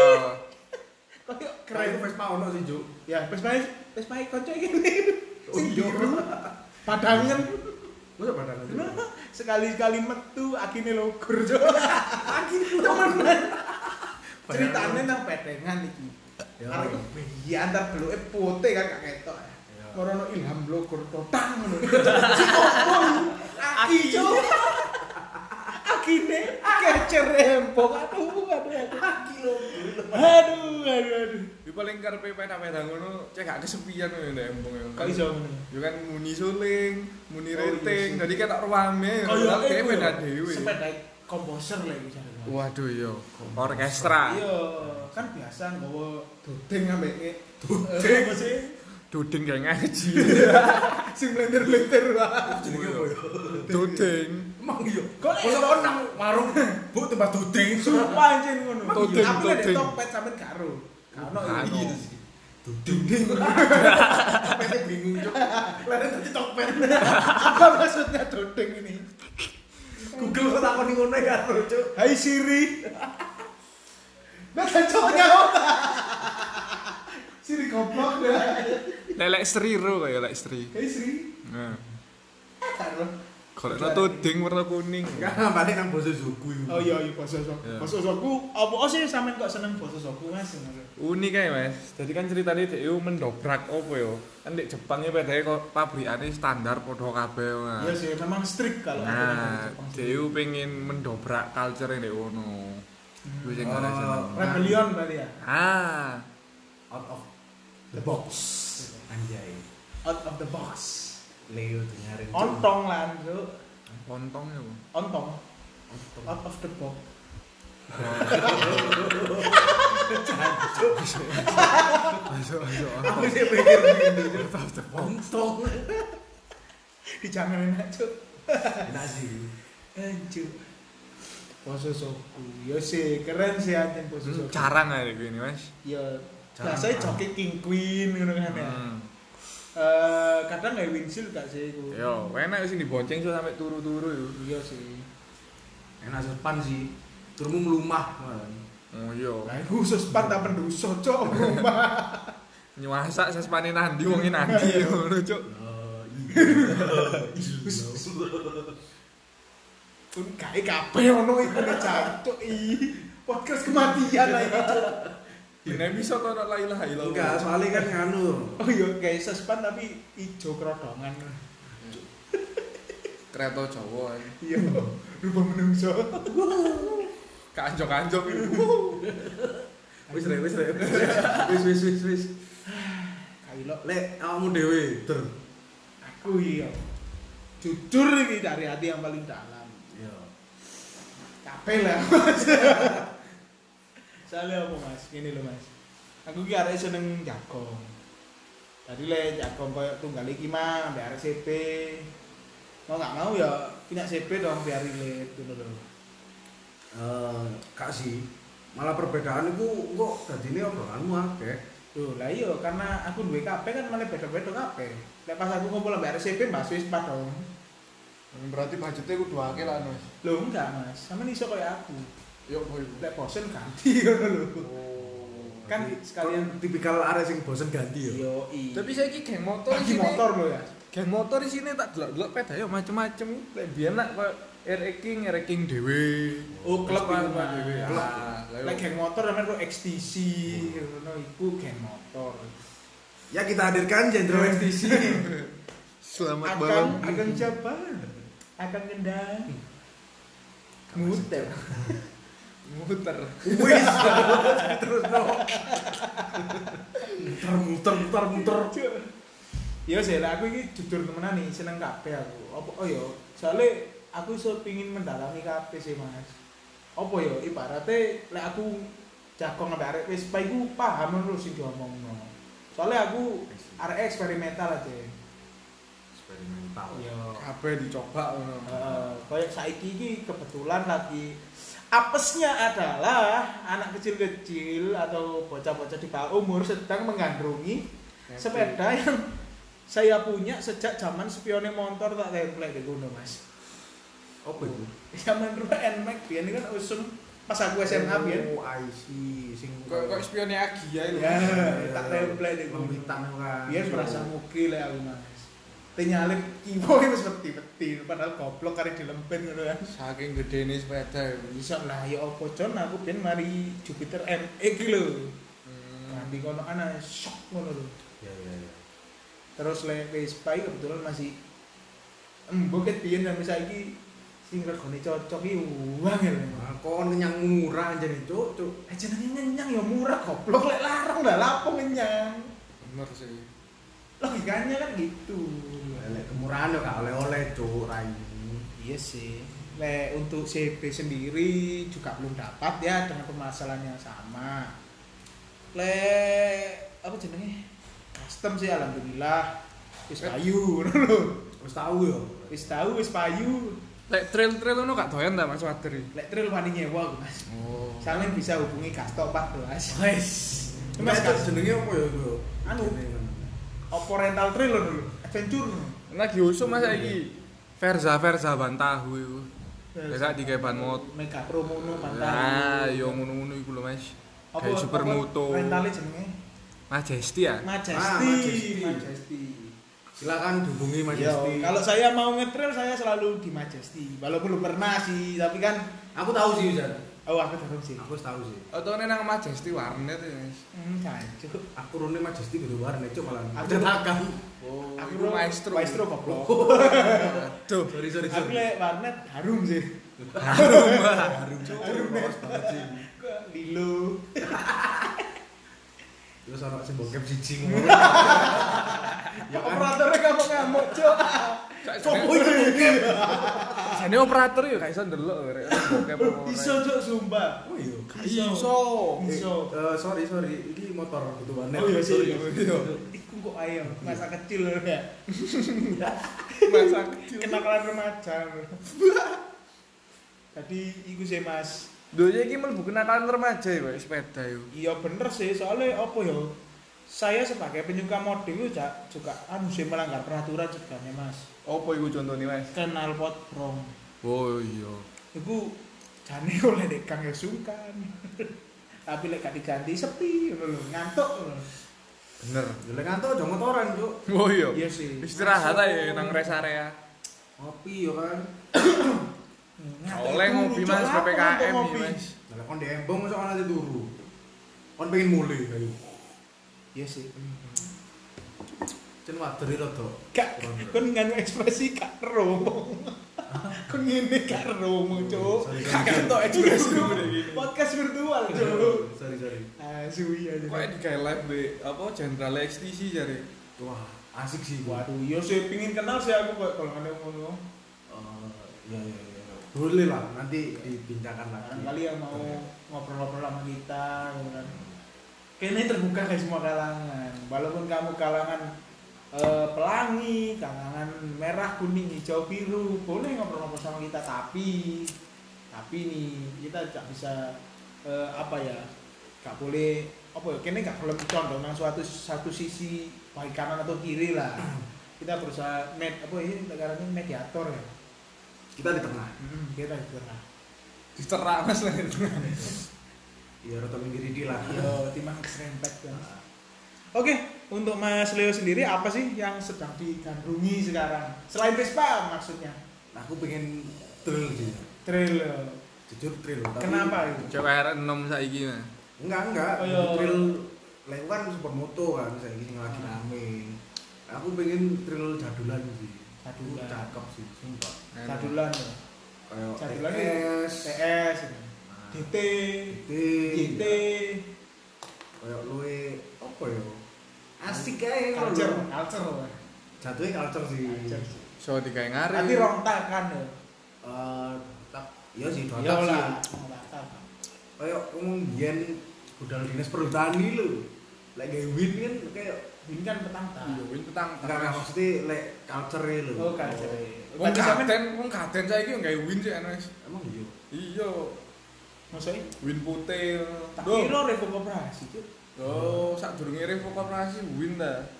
Speaker 2: Kayak
Speaker 1: Keren
Speaker 2: keren.
Speaker 1: Vespa ono sih, Cuk.
Speaker 2: Ya, Vespa Vespa kanca iki.
Speaker 1: Oh, iya.
Speaker 2: Padangan
Speaker 1: Masa badan aja.
Speaker 2: sekali-kali metu akhirnya logur jo. Akhirnya temenan. Ceritanya nang petengan iki.
Speaker 1: Ya.
Speaker 2: Karena itu bayi antar beluke putih kan gak ketok.
Speaker 1: Ya.
Speaker 2: Morono ilham logur totang ngono. Si ngomong aki jo. Akine kecer rempong aduh aduh aduh.
Speaker 1: Aki lo.
Speaker 2: Aduh aduh aduh.
Speaker 3: Yo paling karepe peda-peda ngono cek gak kesepian yo ndek embong yo.
Speaker 2: Kok iso ngono?
Speaker 3: Yo kan muni suling, muni
Speaker 1: Oh, iya
Speaker 3: renting,
Speaker 1: sih.
Speaker 3: jadi kayak tak ruame.
Speaker 2: Kayak
Speaker 3: kayak
Speaker 2: iku
Speaker 3: beda
Speaker 2: ya,
Speaker 3: dhewe.
Speaker 2: Sepeda komposer lah iki jare.
Speaker 3: Waduh yo, orkestra.
Speaker 2: Iya, kan biasa nggawa duding ambek e. Duding apa sih?
Speaker 3: Duding kayak ngaji.
Speaker 2: Sing blender-blender wae.
Speaker 1: Jenenge apa ya?
Speaker 3: Duding.
Speaker 1: Emang iya.
Speaker 2: Kok
Speaker 1: Masa
Speaker 2: iso?
Speaker 1: kon nang warung, Bu tembak duding.
Speaker 2: Sumpah anjing ngono.
Speaker 3: Duding,
Speaker 2: Aku lek
Speaker 3: duding.
Speaker 2: topet sampean karo. Kano
Speaker 3: Gak ono.
Speaker 1: Iya sih. Duding. Sampai bingung, Cuk. Lare tadi topet.
Speaker 2: Apa maksudnya duding ini?
Speaker 1: Google kok takoni ngono ya, Cuk.
Speaker 2: Hai Siri. Nah, cocoknya apa? Siri goblok dah.
Speaker 3: Lelek sri ro kayak lelek sri.
Speaker 2: Hai Siri.
Speaker 3: Nah.
Speaker 2: Karo.
Speaker 3: Golekno tuding warna kuning.
Speaker 1: Enggak, balik nang bosu suku.
Speaker 2: Oh iya iya basa sok.
Speaker 3: Hmm. Iya.
Speaker 2: Basa sokku opo sih oh, sampean kok seneng basa sokku Mas?
Speaker 3: Unik ae, Mas. Jadi kan ceritanya dhek iku mendobrak opo yo. Kan di Jepang iki pedake kok pabrikane standar padha kabeh, Mas.
Speaker 2: Iya sih memang strict kalau aturan dari
Speaker 3: Nah,
Speaker 2: Jepang.
Speaker 3: dhek iku pengen mendobrak culture yang dhek ono.
Speaker 2: Hmm.
Speaker 3: Kuwi sing
Speaker 1: Oh.
Speaker 3: ora seneng.
Speaker 2: Rebellion berarti ya.
Speaker 3: Ah,
Speaker 1: Out of the box. Anjay.
Speaker 2: Out of the box.
Speaker 1: Leo dengerin.
Speaker 2: Ontong lah, Cuk.
Speaker 3: lontong ya, Bu.
Speaker 2: Ontong. Out of the box.
Speaker 3: Masuk, masuk.
Speaker 1: Aku sih mikir gitu. Ontong.
Speaker 2: Dijangan enak, Cuk. Eh,
Speaker 1: Enak sih.
Speaker 2: Ancu. Basa sokku. Yo sih keren sih anjen basa
Speaker 3: Hmm,
Speaker 2: sokku.
Speaker 3: Jarang ae iki Mas.
Speaker 2: Yo
Speaker 1: Jarang.
Speaker 2: biasanya joki king queen ngono kan ya.
Speaker 3: Hmm.
Speaker 2: Eh kadang nggak windshield gak sih iku.
Speaker 3: Yo, enak sih dibonceng so sampe turu-turu yo.
Speaker 2: Iya sih.
Speaker 1: Enak sepan sih. Turmu melumah.
Speaker 3: Oh iya.
Speaker 2: Lah khusus pan tak pendoso cok rumah.
Speaker 3: Nyuasak sespane nandi wong iki nandi yo ngono, Cuk.
Speaker 1: Eh, iya.
Speaker 2: Pun kae kabeh ono iku ne jancuk i. Podcast kematian lah iki. Cuk.
Speaker 3: Dene bisa kok ora la ilaha illallah.
Speaker 1: Enggak, soalnya kan nganu.
Speaker 2: Oh iya guys, sespan tapi ijo kerodongan.
Speaker 3: Kereta Jawa. ae.
Speaker 2: Iya, rumah menungso.
Speaker 3: Kanjok-kanjok iki.
Speaker 1: Wis rek, wis rek. Wis wis wis wis.
Speaker 2: Kailo
Speaker 1: Lek awakmu dhewe ter.
Speaker 2: aku iya. Jujur ini dari hati yang paling dalam.
Speaker 1: Iya.
Speaker 2: Capek lah. Soalnya apa mas? Gini loh mas. Aku ki arek seneng jagong. Tadi le jagong koyo tunggal iki mah ambek arek CP. Mau gak mau ya punya CP dong biar relate ngono lho.
Speaker 1: Eh, kak sih. Malah perbedaan iku kok dadine obrolanmu akeh.
Speaker 2: Duh, lah iya karena aku duwe KP kan malah beda-beda KP. Lek pas aku ngumpul ambek arek CP Mbak Swiss pas dong.
Speaker 4: Hmm, Berarti budgetnya kudu akeh lah, Mas.
Speaker 2: Loh enggak mas, sama iso koyo aku.
Speaker 4: Yuk, boy.
Speaker 2: Lek bosen ganti ngono lho. Kan
Speaker 1: Jadi,
Speaker 2: sekalian
Speaker 1: kon tipikal arek sing bosen ganti ya.
Speaker 2: Yo, i.
Speaker 3: Tapi saiki geng motor
Speaker 2: Bagi motor lo ya.
Speaker 3: Geng motor di sini tak delok-delok peda yo macem-macem. Lek biyen nak koyo RE King, RE King dhewe.
Speaker 2: Oh, klub
Speaker 3: Terus
Speaker 2: itu,
Speaker 3: apa
Speaker 2: Pak.
Speaker 3: dhewe.
Speaker 1: Klub.
Speaker 3: Ah, lah yo.
Speaker 2: Lek geng motor namanya kok XTC, ngono iku geng motor.
Speaker 1: Ya kita hadirkan Jenderal XTC.
Speaker 3: Selamat
Speaker 2: Akan
Speaker 3: malam.
Speaker 2: akan jaban. Akan kendang. Muter.
Speaker 3: Muter.
Speaker 1: Wis. Terus no. Muter muter muter muter.
Speaker 2: Yo sih, lah aku ini jujur temenan nih, seneng kabeh aku. Apa oh yo, soalnya aku iso pingin mendalami kabeh sih, Mas. Apa yo ibaratnya lek aku jagong ambek arek wis iku paham ngono sing diomongno. Soalnya aku arek eksperimental aja.
Speaker 1: Eksperimental.
Speaker 2: Yo.
Speaker 3: Kabeh dicoba ngono.
Speaker 2: Eh, kayak saiki ini kebetulan lagi apesnya adalah anak kecil-kecil atau bocah-bocah di bawah umur sedang menggandrungi sepeda yang saya punya sejak zaman spione motor tak template di gunung mas
Speaker 1: Apa itu?
Speaker 2: zaman dulu NMAX biar ini kan usum pas aku SMA biar
Speaker 1: Oh, I see. Sing
Speaker 3: Kok kok spione Agi ya
Speaker 2: ya tak template di gunung
Speaker 1: Lembitan kan.
Speaker 2: biar merasa mukil ya aku mas Tenyalip kiwo itu seperti-peti padahal goblok kare dilempet gitu kan
Speaker 3: Saking gedene sepeda yo.
Speaker 2: bisa lah ya apa con aku ben mari Jupiter MX iki lho
Speaker 3: Hmm,
Speaker 2: nanti kono ana shock ngono lho
Speaker 1: Ya ya ya.
Speaker 2: terus le Vespa iki kebetulan masih embo ket piye sampe saiki sing regane cocok iki wangel
Speaker 1: Nah, kon kenyang murah aja nih, Cuk, Cuk.
Speaker 2: eh jenenge ngenyang ya murah goblok lek larang lah lapo ngenyang
Speaker 3: Bener sih.
Speaker 2: logikanya kan gitu
Speaker 1: Lek kemurahan yo gak oleh-oleh, Cuk, rayu.
Speaker 2: iya sih le untuk CB sendiri juga belum dapat ya dengan permasalahan yang sama le apa jenenge custom sih alhamdulillah wis payu ngono lho
Speaker 1: Wis tahu yo.
Speaker 2: wis tahu wis payu
Speaker 3: Lek trail-trail ngono gak doyan ta Mas Wadri?
Speaker 2: lek trail wani nyewa aku mas
Speaker 3: Oh.
Speaker 2: Sampeyan bisa hubungi Kasto 14
Speaker 1: Wes.
Speaker 2: Mas,
Speaker 1: Mas
Speaker 2: Kak.
Speaker 1: jenenge apa ya, Cuk?
Speaker 2: Anu.
Speaker 1: Jenenge kan.
Speaker 2: Oppo rental trail lho dulu adventure
Speaker 3: Lagi usum Mas iki. Verza Verza bantahu iku. Ya gak digawe ban mot.
Speaker 2: mega promo no
Speaker 3: Nah, yo Ah, ngono-ngono iku lho Mas.
Speaker 2: Apa-
Speaker 3: Kayak
Speaker 2: apa
Speaker 3: supermoto.
Speaker 2: rentalnya jenenge
Speaker 3: Majesti ya?
Speaker 2: Majesty
Speaker 1: Ah, Majesty.
Speaker 2: Majesty
Speaker 1: silakan dihubungi Majesty.
Speaker 2: Yo, kalau saya mau ngetrail saya selalu di Majesty. Walaupun belum pernah sih, tapi kan
Speaker 1: aku tahu sih Ujan.
Speaker 2: oh aku dorong sih.
Speaker 1: Aku tahu sih.
Speaker 3: Atau nih nang Majesty warnet ya. Mas.
Speaker 2: Hmm, jancuk.
Speaker 1: Aku rune Majesty di luar nih cuma malah.
Speaker 2: Aku-
Speaker 1: Ada takam.
Speaker 3: Oh,
Speaker 2: Aku
Speaker 3: itu maestro.
Speaker 2: Maestro goblok.
Speaker 3: Aduh.
Speaker 1: Sorry sorry
Speaker 2: Aku
Speaker 1: sorry.
Speaker 2: lek warnet harum sih.
Speaker 1: Harum harum bos banget sih.
Speaker 2: Kok Lilo.
Speaker 1: Terus orang sing bokep siji
Speaker 2: Ya
Speaker 3: kan?
Speaker 2: operatornya kamu ngamuk, Cok.
Speaker 3: Sopo iki mungkin. Jane operator ya gak iso ndelok rek. Bokep apa ora.
Speaker 2: Iso, Cok, sumpah.
Speaker 1: Oh iya.
Speaker 3: Iso.
Speaker 2: Iso.
Speaker 1: Eh, eh, sorry sorry, ini motor ketubannya.
Speaker 2: Oh iya sih.
Speaker 1: Iya.
Speaker 2: Iku kok ayam masa kecil
Speaker 3: Iya.
Speaker 2: ya.
Speaker 3: Masa
Speaker 2: Kenakalan remaja. Tadi iku sih Mas.
Speaker 3: Dunya iki mlebu kenakalan remaja ya, Pak, sepeda yo.
Speaker 2: Iya bener sih, soalnya apa ya? Saya sebagai penyuka model itu Cak, juga anu sih melanggar peraturan sebenarnya Mas.
Speaker 3: Apa iku contone, Mas?
Speaker 2: Kenal pot brong.
Speaker 3: Oh iya.
Speaker 2: Iku jane oleh dek Kang ya sungkan. Tapi lek gak diganti sepi ngono lho, ngantuk ngono.
Speaker 3: Bener.
Speaker 1: Jelek Ya, ngantuk aja motoran, Cuk.
Speaker 3: Oh iya.
Speaker 2: Iya sih.
Speaker 3: Istirahat aja nang rest area.
Speaker 1: Ngopi yo kan.
Speaker 2: Ngantuk
Speaker 3: Oleh
Speaker 2: dulu,
Speaker 3: ngopi,
Speaker 2: Cak.
Speaker 3: Mas,
Speaker 2: Apa
Speaker 3: PPKM
Speaker 2: ngantuk
Speaker 3: iki,
Speaker 2: ngopi?
Speaker 3: iya, Mas.
Speaker 1: Lah kon di embong masuk ana turu. Kon pengen mulai kayu.
Speaker 2: Iya sih.
Speaker 1: Cen waderi rada.
Speaker 2: Kak, kon nganu ekspresi kak romo. Kon ngene kak romo, Cuk.
Speaker 1: Sorry, sorry,
Speaker 2: Kak
Speaker 1: sorry.
Speaker 2: kentok ekspresi Podcast virtual, Cuk. Ah,
Speaker 1: Sorry sorry.
Speaker 2: Asu iya
Speaker 3: Kok di kayak live be apa jenderal ekstisi jare.
Speaker 1: Wah, asik sih buat.
Speaker 2: Waduh, yo sih pingin kenal sih aku kok kalau ada ngono.
Speaker 1: Oh, ya ya ya. Boleh lah, nanti dibincangkan lagi.
Speaker 2: Barangkali yang mau ngobrol-ngobrol sama kita, gitu kan. Kayaknya terbuka kayak semua kalangan. Walaupun kamu kalangan eh, pelangi, kalangan merah, kuning, hijau, biru, boleh ngobrol-ngobrol sama kita. Tapi, tapi nih kita gak bisa eh, apa ya, gak boleh apa ya, kayaknya gak boleh condong nang suatu satu sisi baik kanan atau kiri lah. Kita berusaha med apa ya, negaranya mediator ya.
Speaker 1: Kita di tengah.
Speaker 2: Hmm, kita di tengah.
Speaker 3: Dicerak Mas lah.
Speaker 1: Ya rada minggir iki lah.
Speaker 2: Yo, timang serempet Iya, kan. Oke, untuk Mas Leo sendiri apa sih yang sedang digandrungi sekarang? Selain Vespa maksudnya.
Speaker 1: Aku pengen trail sih.
Speaker 2: Trail.
Speaker 1: Jujur trail. tapi-
Speaker 2: Kenapa itu?
Speaker 3: Cewek 6 saiki Mas.
Speaker 1: Enggak, enggak.
Speaker 2: Oh, iya.
Speaker 1: Trail lek kan supermoto kan saya ini lagi
Speaker 2: Ah.
Speaker 1: rame. Aku pengen trail jadulan sih.
Speaker 2: Jadulan.
Speaker 1: cakep sih, sumpah.
Speaker 2: Cadulan ya.
Speaker 3: Oh,
Speaker 1: Kayak
Speaker 2: Jadulan ya? itu
Speaker 1: TS,
Speaker 2: TS. gitu.
Speaker 1: nah,
Speaker 2: DT,
Speaker 1: DT,
Speaker 2: GT,
Speaker 1: kayak luwe apa ya? Asik ae ngono
Speaker 2: culture,
Speaker 1: lho.
Speaker 2: culture. weh.
Speaker 3: Iya.
Speaker 1: Jatuhnya culture sih.
Speaker 2: Culture sih.
Speaker 3: So tiga ngare.
Speaker 2: Tapi rong takan ya.
Speaker 1: Eh, tak iya sih dua
Speaker 2: Iya
Speaker 1: tak sih.
Speaker 2: lah, rong takan.
Speaker 1: Kayak ngomong biyen budal dinas perhutani lho. Lek gawe win kan kayak
Speaker 2: Ini kan petang tak.
Speaker 3: Iya, win petang.
Speaker 1: enggak enggak maksudnya lek culture lho.
Speaker 2: Oh, culture.
Speaker 3: Wong
Speaker 2: Tapi sampean-
Speaker 3: katen, wong katen saiki yo gawe win sih Mas.
Speaker 1: Emang iya.
Speaker 3: Iya,
Speaker 2: Maksudnya,
Speaker 3: win putih.
Speaker 2: tak
Speaker 3: Duh.
Speaker 2: kira revo koperasi Cuk.
Speaker 3: Oh, sak durunge revo koperasi win ta.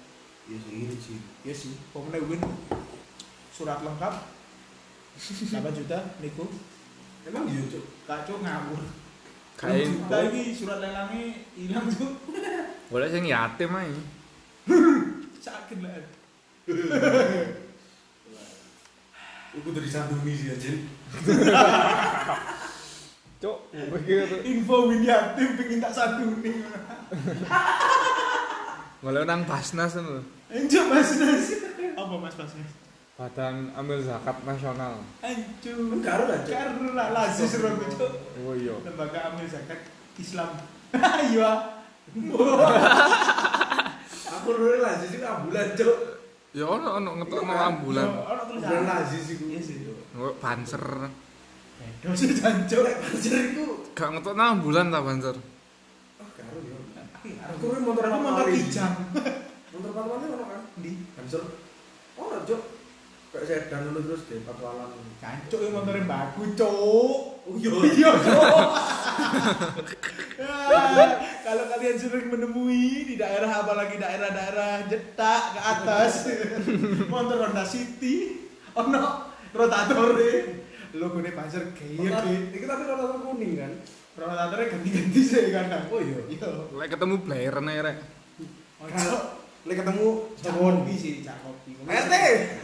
Speaker 1: Iya sih, ini sih.
Speaker 2: Iya sih, pemenang win surat lengkap 8 juta niku
Speaker 1: Emang iya, Cuk.
Speaker 2: kacau ngawur
Speaker 3: Kain.
Speaker 2: 6 juta ini surat lelangnya hilang tuh
Speaker 3: Boleh sing yatim ae.
Speaker 2: sakit lah
Speaker 1: Iku dari sandungi sih anjir.
Speaker 3: Cuk, pikir
Speaker 2: info win yatim pengen tak satu nih
Speaker 3: malah nang Basnas lho.
Speaker 2: anjir mas mas apa mas mas mas
Speaker 3: Badan ambil zakat nasional.
Speaker 2: anjir
Speaker 1: Karo lah, Cuk.
Speaker 2: karu lah lazim surat itu
Speaker 3: Oh iya.
Speaker 2: lembaga amil zakat Islam iya
Speaker 1: Aku rene lazis sih ambulan, Cuk.
Speaker 3: Ya ono ono ngetokno
Speaker 1: Iya kan?
Speaker 3: ambulan.
Speaker 2: orang tulis
Speaker 1: Ambulan lazis iku.
Speaker 2: iya sih
Speaker 3: Oh, Banser.
Speaker 2: dosa jancok
Speaker 1: Lek banjir iku
Speaker 3: Gak ngetokno ambulan ta Banser.
Speaker 1: ah karo ya.
Speaker 2: aku
Speaker 1: Aku rene motor
Speaker 2: mau motor kijang
Speaker 1: Motor patwane ono kan?
Speaker 2: di
Speaker 1: Hamster. Ono, Cuk. Oh, Kayak sedan dulu terus deh patwalan.
Speaker 2: Cancuk yang motornya bagus, cok.
Speaker 1: Oh iya.
Speaker 2: Iya, cok. Ah, Kalau kalian sering menemui di daerah apalagi daerah-daerah jetak ke atas, motor Honda City, ono rotatore, logone pasar
Speaker 1: Iya, Cuk.
Speaker 2: kayak
Speaker 1: Iki tapi rada kuning kan.
Speaker 2: rotatore ganti-ganti sih kadang.
Speaker 1: Oh iya.
Speaker 2: Iya.
Speaker 3: Lek ketemu player nek rek.
Speaker 2: Ojo.
Speaker 1: Lek ketemu
Speaker 2: cak
Speaker 1: someone.
Speaker 2: kopi sih cak kopi
Speaker 1: RT.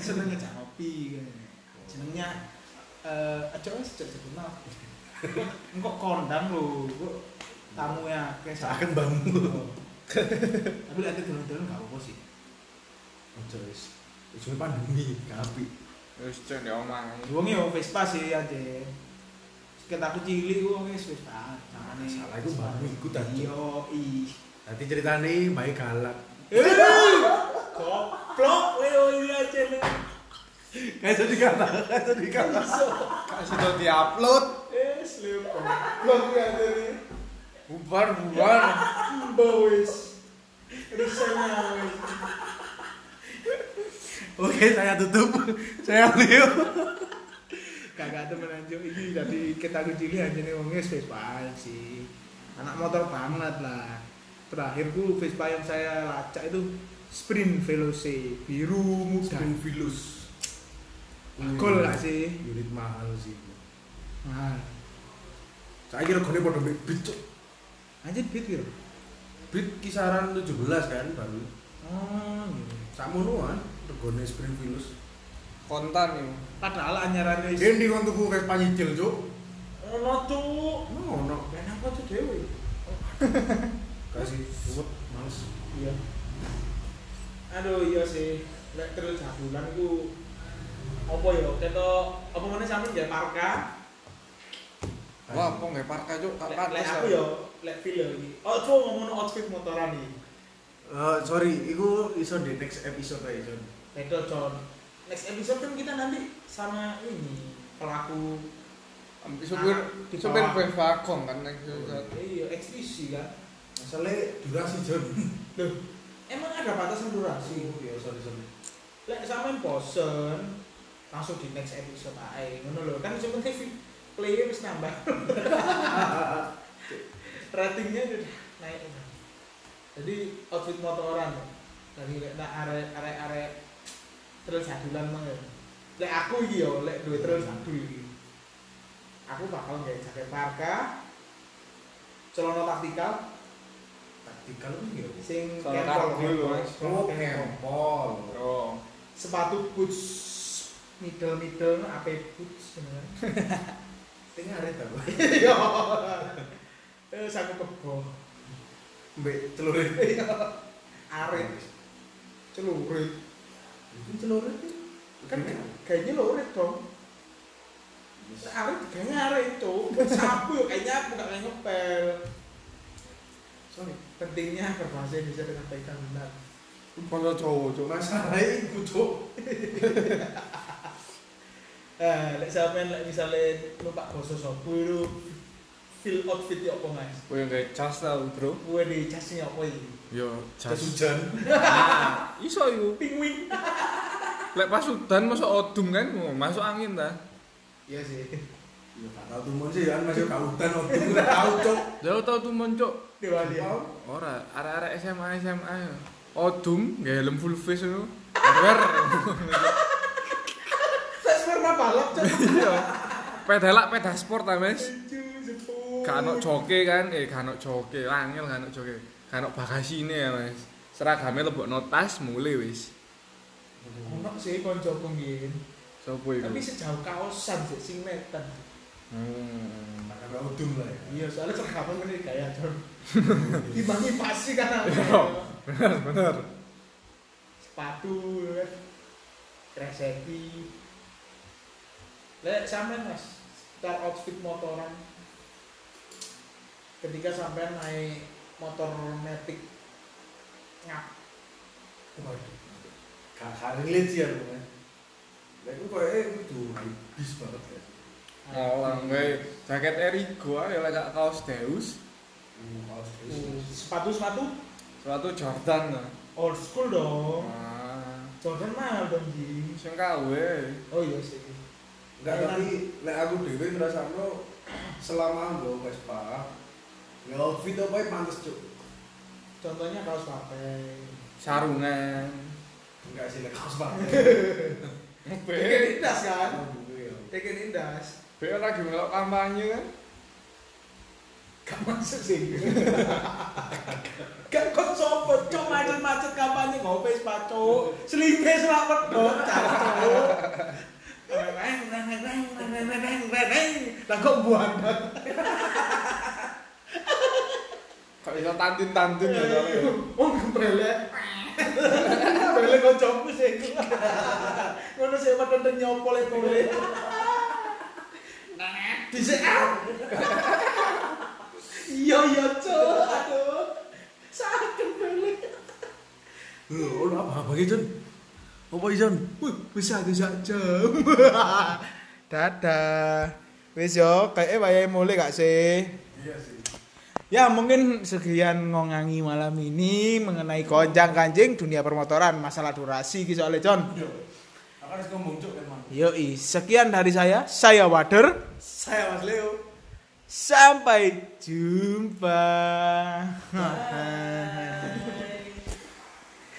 Speaker 2: senengnya cak kopi kan senengnya eh aja wes cak cak kenal engkau kondang lo kok tamu ya kayak Oh.
Speaker 1: Saken bambu.
Speaker 2: tapi lihat dulu-dulu nggak apa sih
Speaker 1: Ojo wis. Wis kowe pandemi, gak apik.
Speaker 3: Wis cek ndek omah.
Speaker 2: Wong yo Vespa sih aja. Sekian aku cilik wong wis Vespa. Tangane
Speaker 1: Salah iku baru ikut aja.
Speaker 2: Yo i.
Speaker 1: Nanti ceritane baik galak.
Speaker 2: Eh, Goblok leo iki aja lu.
Speaker 1: Kayak jadi galak, kayak jadi galak.
Speaker 3: Kak sido diupload.
Speaker 2: Wis leo goblok ya tadi.
Speaker 3: Bubar bubar.
Speaker 2: Mbok wis. Risana wis.
Speaker 1: Oke, saya tutup. Saya Leo.
Speaker 2: Kagak temen anjuk iki tadi kita aku cilik aja nih wong wis Vespa sih. Anak motor banget lah. Terakhir ku Vespa yang saya lacak itu Sprint Veloce biru muda.
Speaker 1: Vilus.
Speaker 2: Gol lah sih.
Speaker 1: Unit mahal sih.
Speaker 2: Nah,
Speaker 1: Saya kira gone padha mbek bit. Cuk.
Speaker 2: anjir duit gitu.
Speaker 1: Bit kisaran 17 kan baru.
Speaker 2: Oh, gitu.
Speaker 1: Sakmono kan regane Sprint Vilus.
Speaker 3: Kontan yo.
Speaker 2: Padahal anyaran wis.
Speaker 1: Dendi kon tuku Vespa nyicil, Cuk.
Speaker 2: Ono tuh.
Speaker 1: Ngono.
Speaker 2: Ben apa tuh dewe?
Speaker 1: Kasih suwet males.
Speaker 2: Iya. Aduh iya sih. Lek terus jabulan ku apa ya? Ketok apa meneh sampe ya parka.
Speaker 3: Wah, apa nggak parka cuk? Kak
Speaker 2: Lek lek
Speaker 3: pantes.
Speaker 2: aku ya lek feel ya iki. Oh, cuma ngomong outfit motoran iki.
Speaker 1: Eh, sorry, iku iso di next episode ae, Jon.
Speaker 2: Beda John. Next episode kan kita nanti sama ini pelaku
Speaker 3: Supir
Speaker 2: Di bawah.
Speaker 3: supir Vespa Kong kan yang susah.
Speaker 2: iya ekspresi kan.
Speaker 1: Masalahnya durasi, Jon.
Speaker 2: Loh, emang ada batasan durasi?
Speaker 1: ya sorry, sorry.
Speaker 2: lek sampean bosen langsung di next episode ae ngono lho kan sing penting vi- player wis nambah ratingnya udah naik udah jadi outfit motoran dari lek nak arek arek arek terus jadulan mah ya. lek aku iki yo lek duwe terus jadul iki aku bakal nggawe jaket parka celana taktikal
Speaker 1: Taktikal kuwi ya.
Speaker 2: sing
Speaker 3: Celana
Speaker 2: kempol
Speaker 3: kaki lho,
Speaker 2: kempol,
Speaker 3: Mas.
Speaker 2: celana kempol.
Speaker 1: Kempol.
Speaker 3: Oh.
Speaker 2: sepatu boots middle middle apa boots sebenarnya
Speaker 1: Tengah arep aku.
Speaker 2: iya eh saku kebo
Speaker 1: Mbek celure.
Speaker 2: arit celurit
Speaker 1: Iki celure
Speaker 2: kan kayaknya lurit dong Nah, arit kayaknya arit itu sapu ya kayaknya aku gak kayak ngepel sorry pentingnya berbahasa Indonesia dengan baik dan benar
Speaker 3: Kalau cowok cuk.
Speaker 1: masalahnya iku, Cuk.
Speaker 2: eh lek sampean lek misale numpak boso sopo itu feel outfit ya apa mas
Speaker 3: Gue yang kayak cas tau bro.
Speaker 2: gue di casnya apa ini
Speaker 3: Yo
Speaker 1: Jas hujan.
Speaker 3: Iso yo.
Speaker 2: penguin
Speaker 3: Lek pas udan masuk odum kan, mau masuk angin ta.
Speaker 2: Iya sih.
Speaker 1: Ya gak tau tumun sih kan masih kautan waktu itu tau, Cuk.
Speaker 3: Jauh tau tuh moncok.
Speaker 2: Dewa dia.
Speaker 3: Ora, arek-arek SMA SMA. ya. Odum, gak helm full face yo. Wer.
Speaker 2: Saya sperma balap cok.
Speaker 3: Iya. Pedalak peda sport ta, Mas.
Speaker 2: Lucu, sepuluh.
Speaker 3: Gak ono joke kan, eh gak ono joke, angel gak ono joke. Gak ono bagasine ya, Mas. Seragame lebokno tas mulai wis.
Speaker 2: Ono sih konco pengin.
Speaker 3: Sopo iku?
Speaker 2: Tapi sejauh kaosan sih sing metan.
Speaker 3: Iya. Hmm.
Speaker 1: Makan kau udung lah ya.
Speaker 2: Iya, soalnya seragaman ini gaya cok. Dibangi pasti kan.
Speaker 3: Iya. Bener, bener.
Speaker 2: Sepatu, ya kan. kreseki. Lek sampean Mas, sekitar outfit motoran. Ketika sampean naik motor metik ngap
Speaker 1: Waduh. Gak gak relate sih aku. Mas. Lah iku koyo eh kudu habis banget ya.
Speaker 3: Ngolang wae. Jaket Erigo ae lek gak kaos Deus.
Speaker 1: Uh, kaos terus.
Speaker 2: sepatu sepatu
Speaker 3: Suatu Jordan lah.
Speaker 2: old school dong
Speaker 3: Wah.
Speaker 2: Jordan mahal dong Ji
Speaker 3: Sing kawe.
Speaker 2: oh iya sih
Speaker 1: Enggak tapi lek aku dhewe ngrasakno selama nggo Vespa ya outfit apa yang pantes cuk.
Speaker 2: contohnya kaos pakai
Speaker 3: sarungan
Speaker 1: Enggak sih lek kaos banget.
Speaker 2: Tekin
Speaker 3: be
Speaker 2: Indas kan
Speaker 1: Aku dhewe ya.
Speaker 2: Tekin Indas
Speaker 3: be lagi melok kampanye kan
Speaker 2: Gak masuk sih. Gak kok sopo, cok macet-macet kampanye ngopes pak cok. Selingke selak pedot cak cok. Reng, reng, reng, reng, reng, reng, reng, reng, reng, reng. Lah kok buandan.
Speaker 3: Kok iso tantun-tantun ya tapi.
Speaker 2: Wong kemprelek. Kemprelek kancaku sih. ya, Ngono sih metenten nyopo lek kowe. Dhisik ah. Iya iya cok, aduh. Sakit kemprelek.
Speaker 1: Lho, ono apa apa iki, Jun? Apa iki, Jun?
Speaker 2: Wih, wis aku sak jam. Dadah. Wis yo, kayaknya wayahe mulai gak sih?
Speaker 4: Iya sih.
Speaker 2: Ya mungkin sekian ngongangi malam ini mengenai konjang kanjing dunia permotoran masalah durasi ki soalnya John.
Speaker 1: Yo. Aku harus ngomong cuk, emang.
Speaker 2: Yoi, sekian dari saya. Saya Wader.
Speaker 1: Saya Mas Leo.
Speaker 2: Sampai jumpa.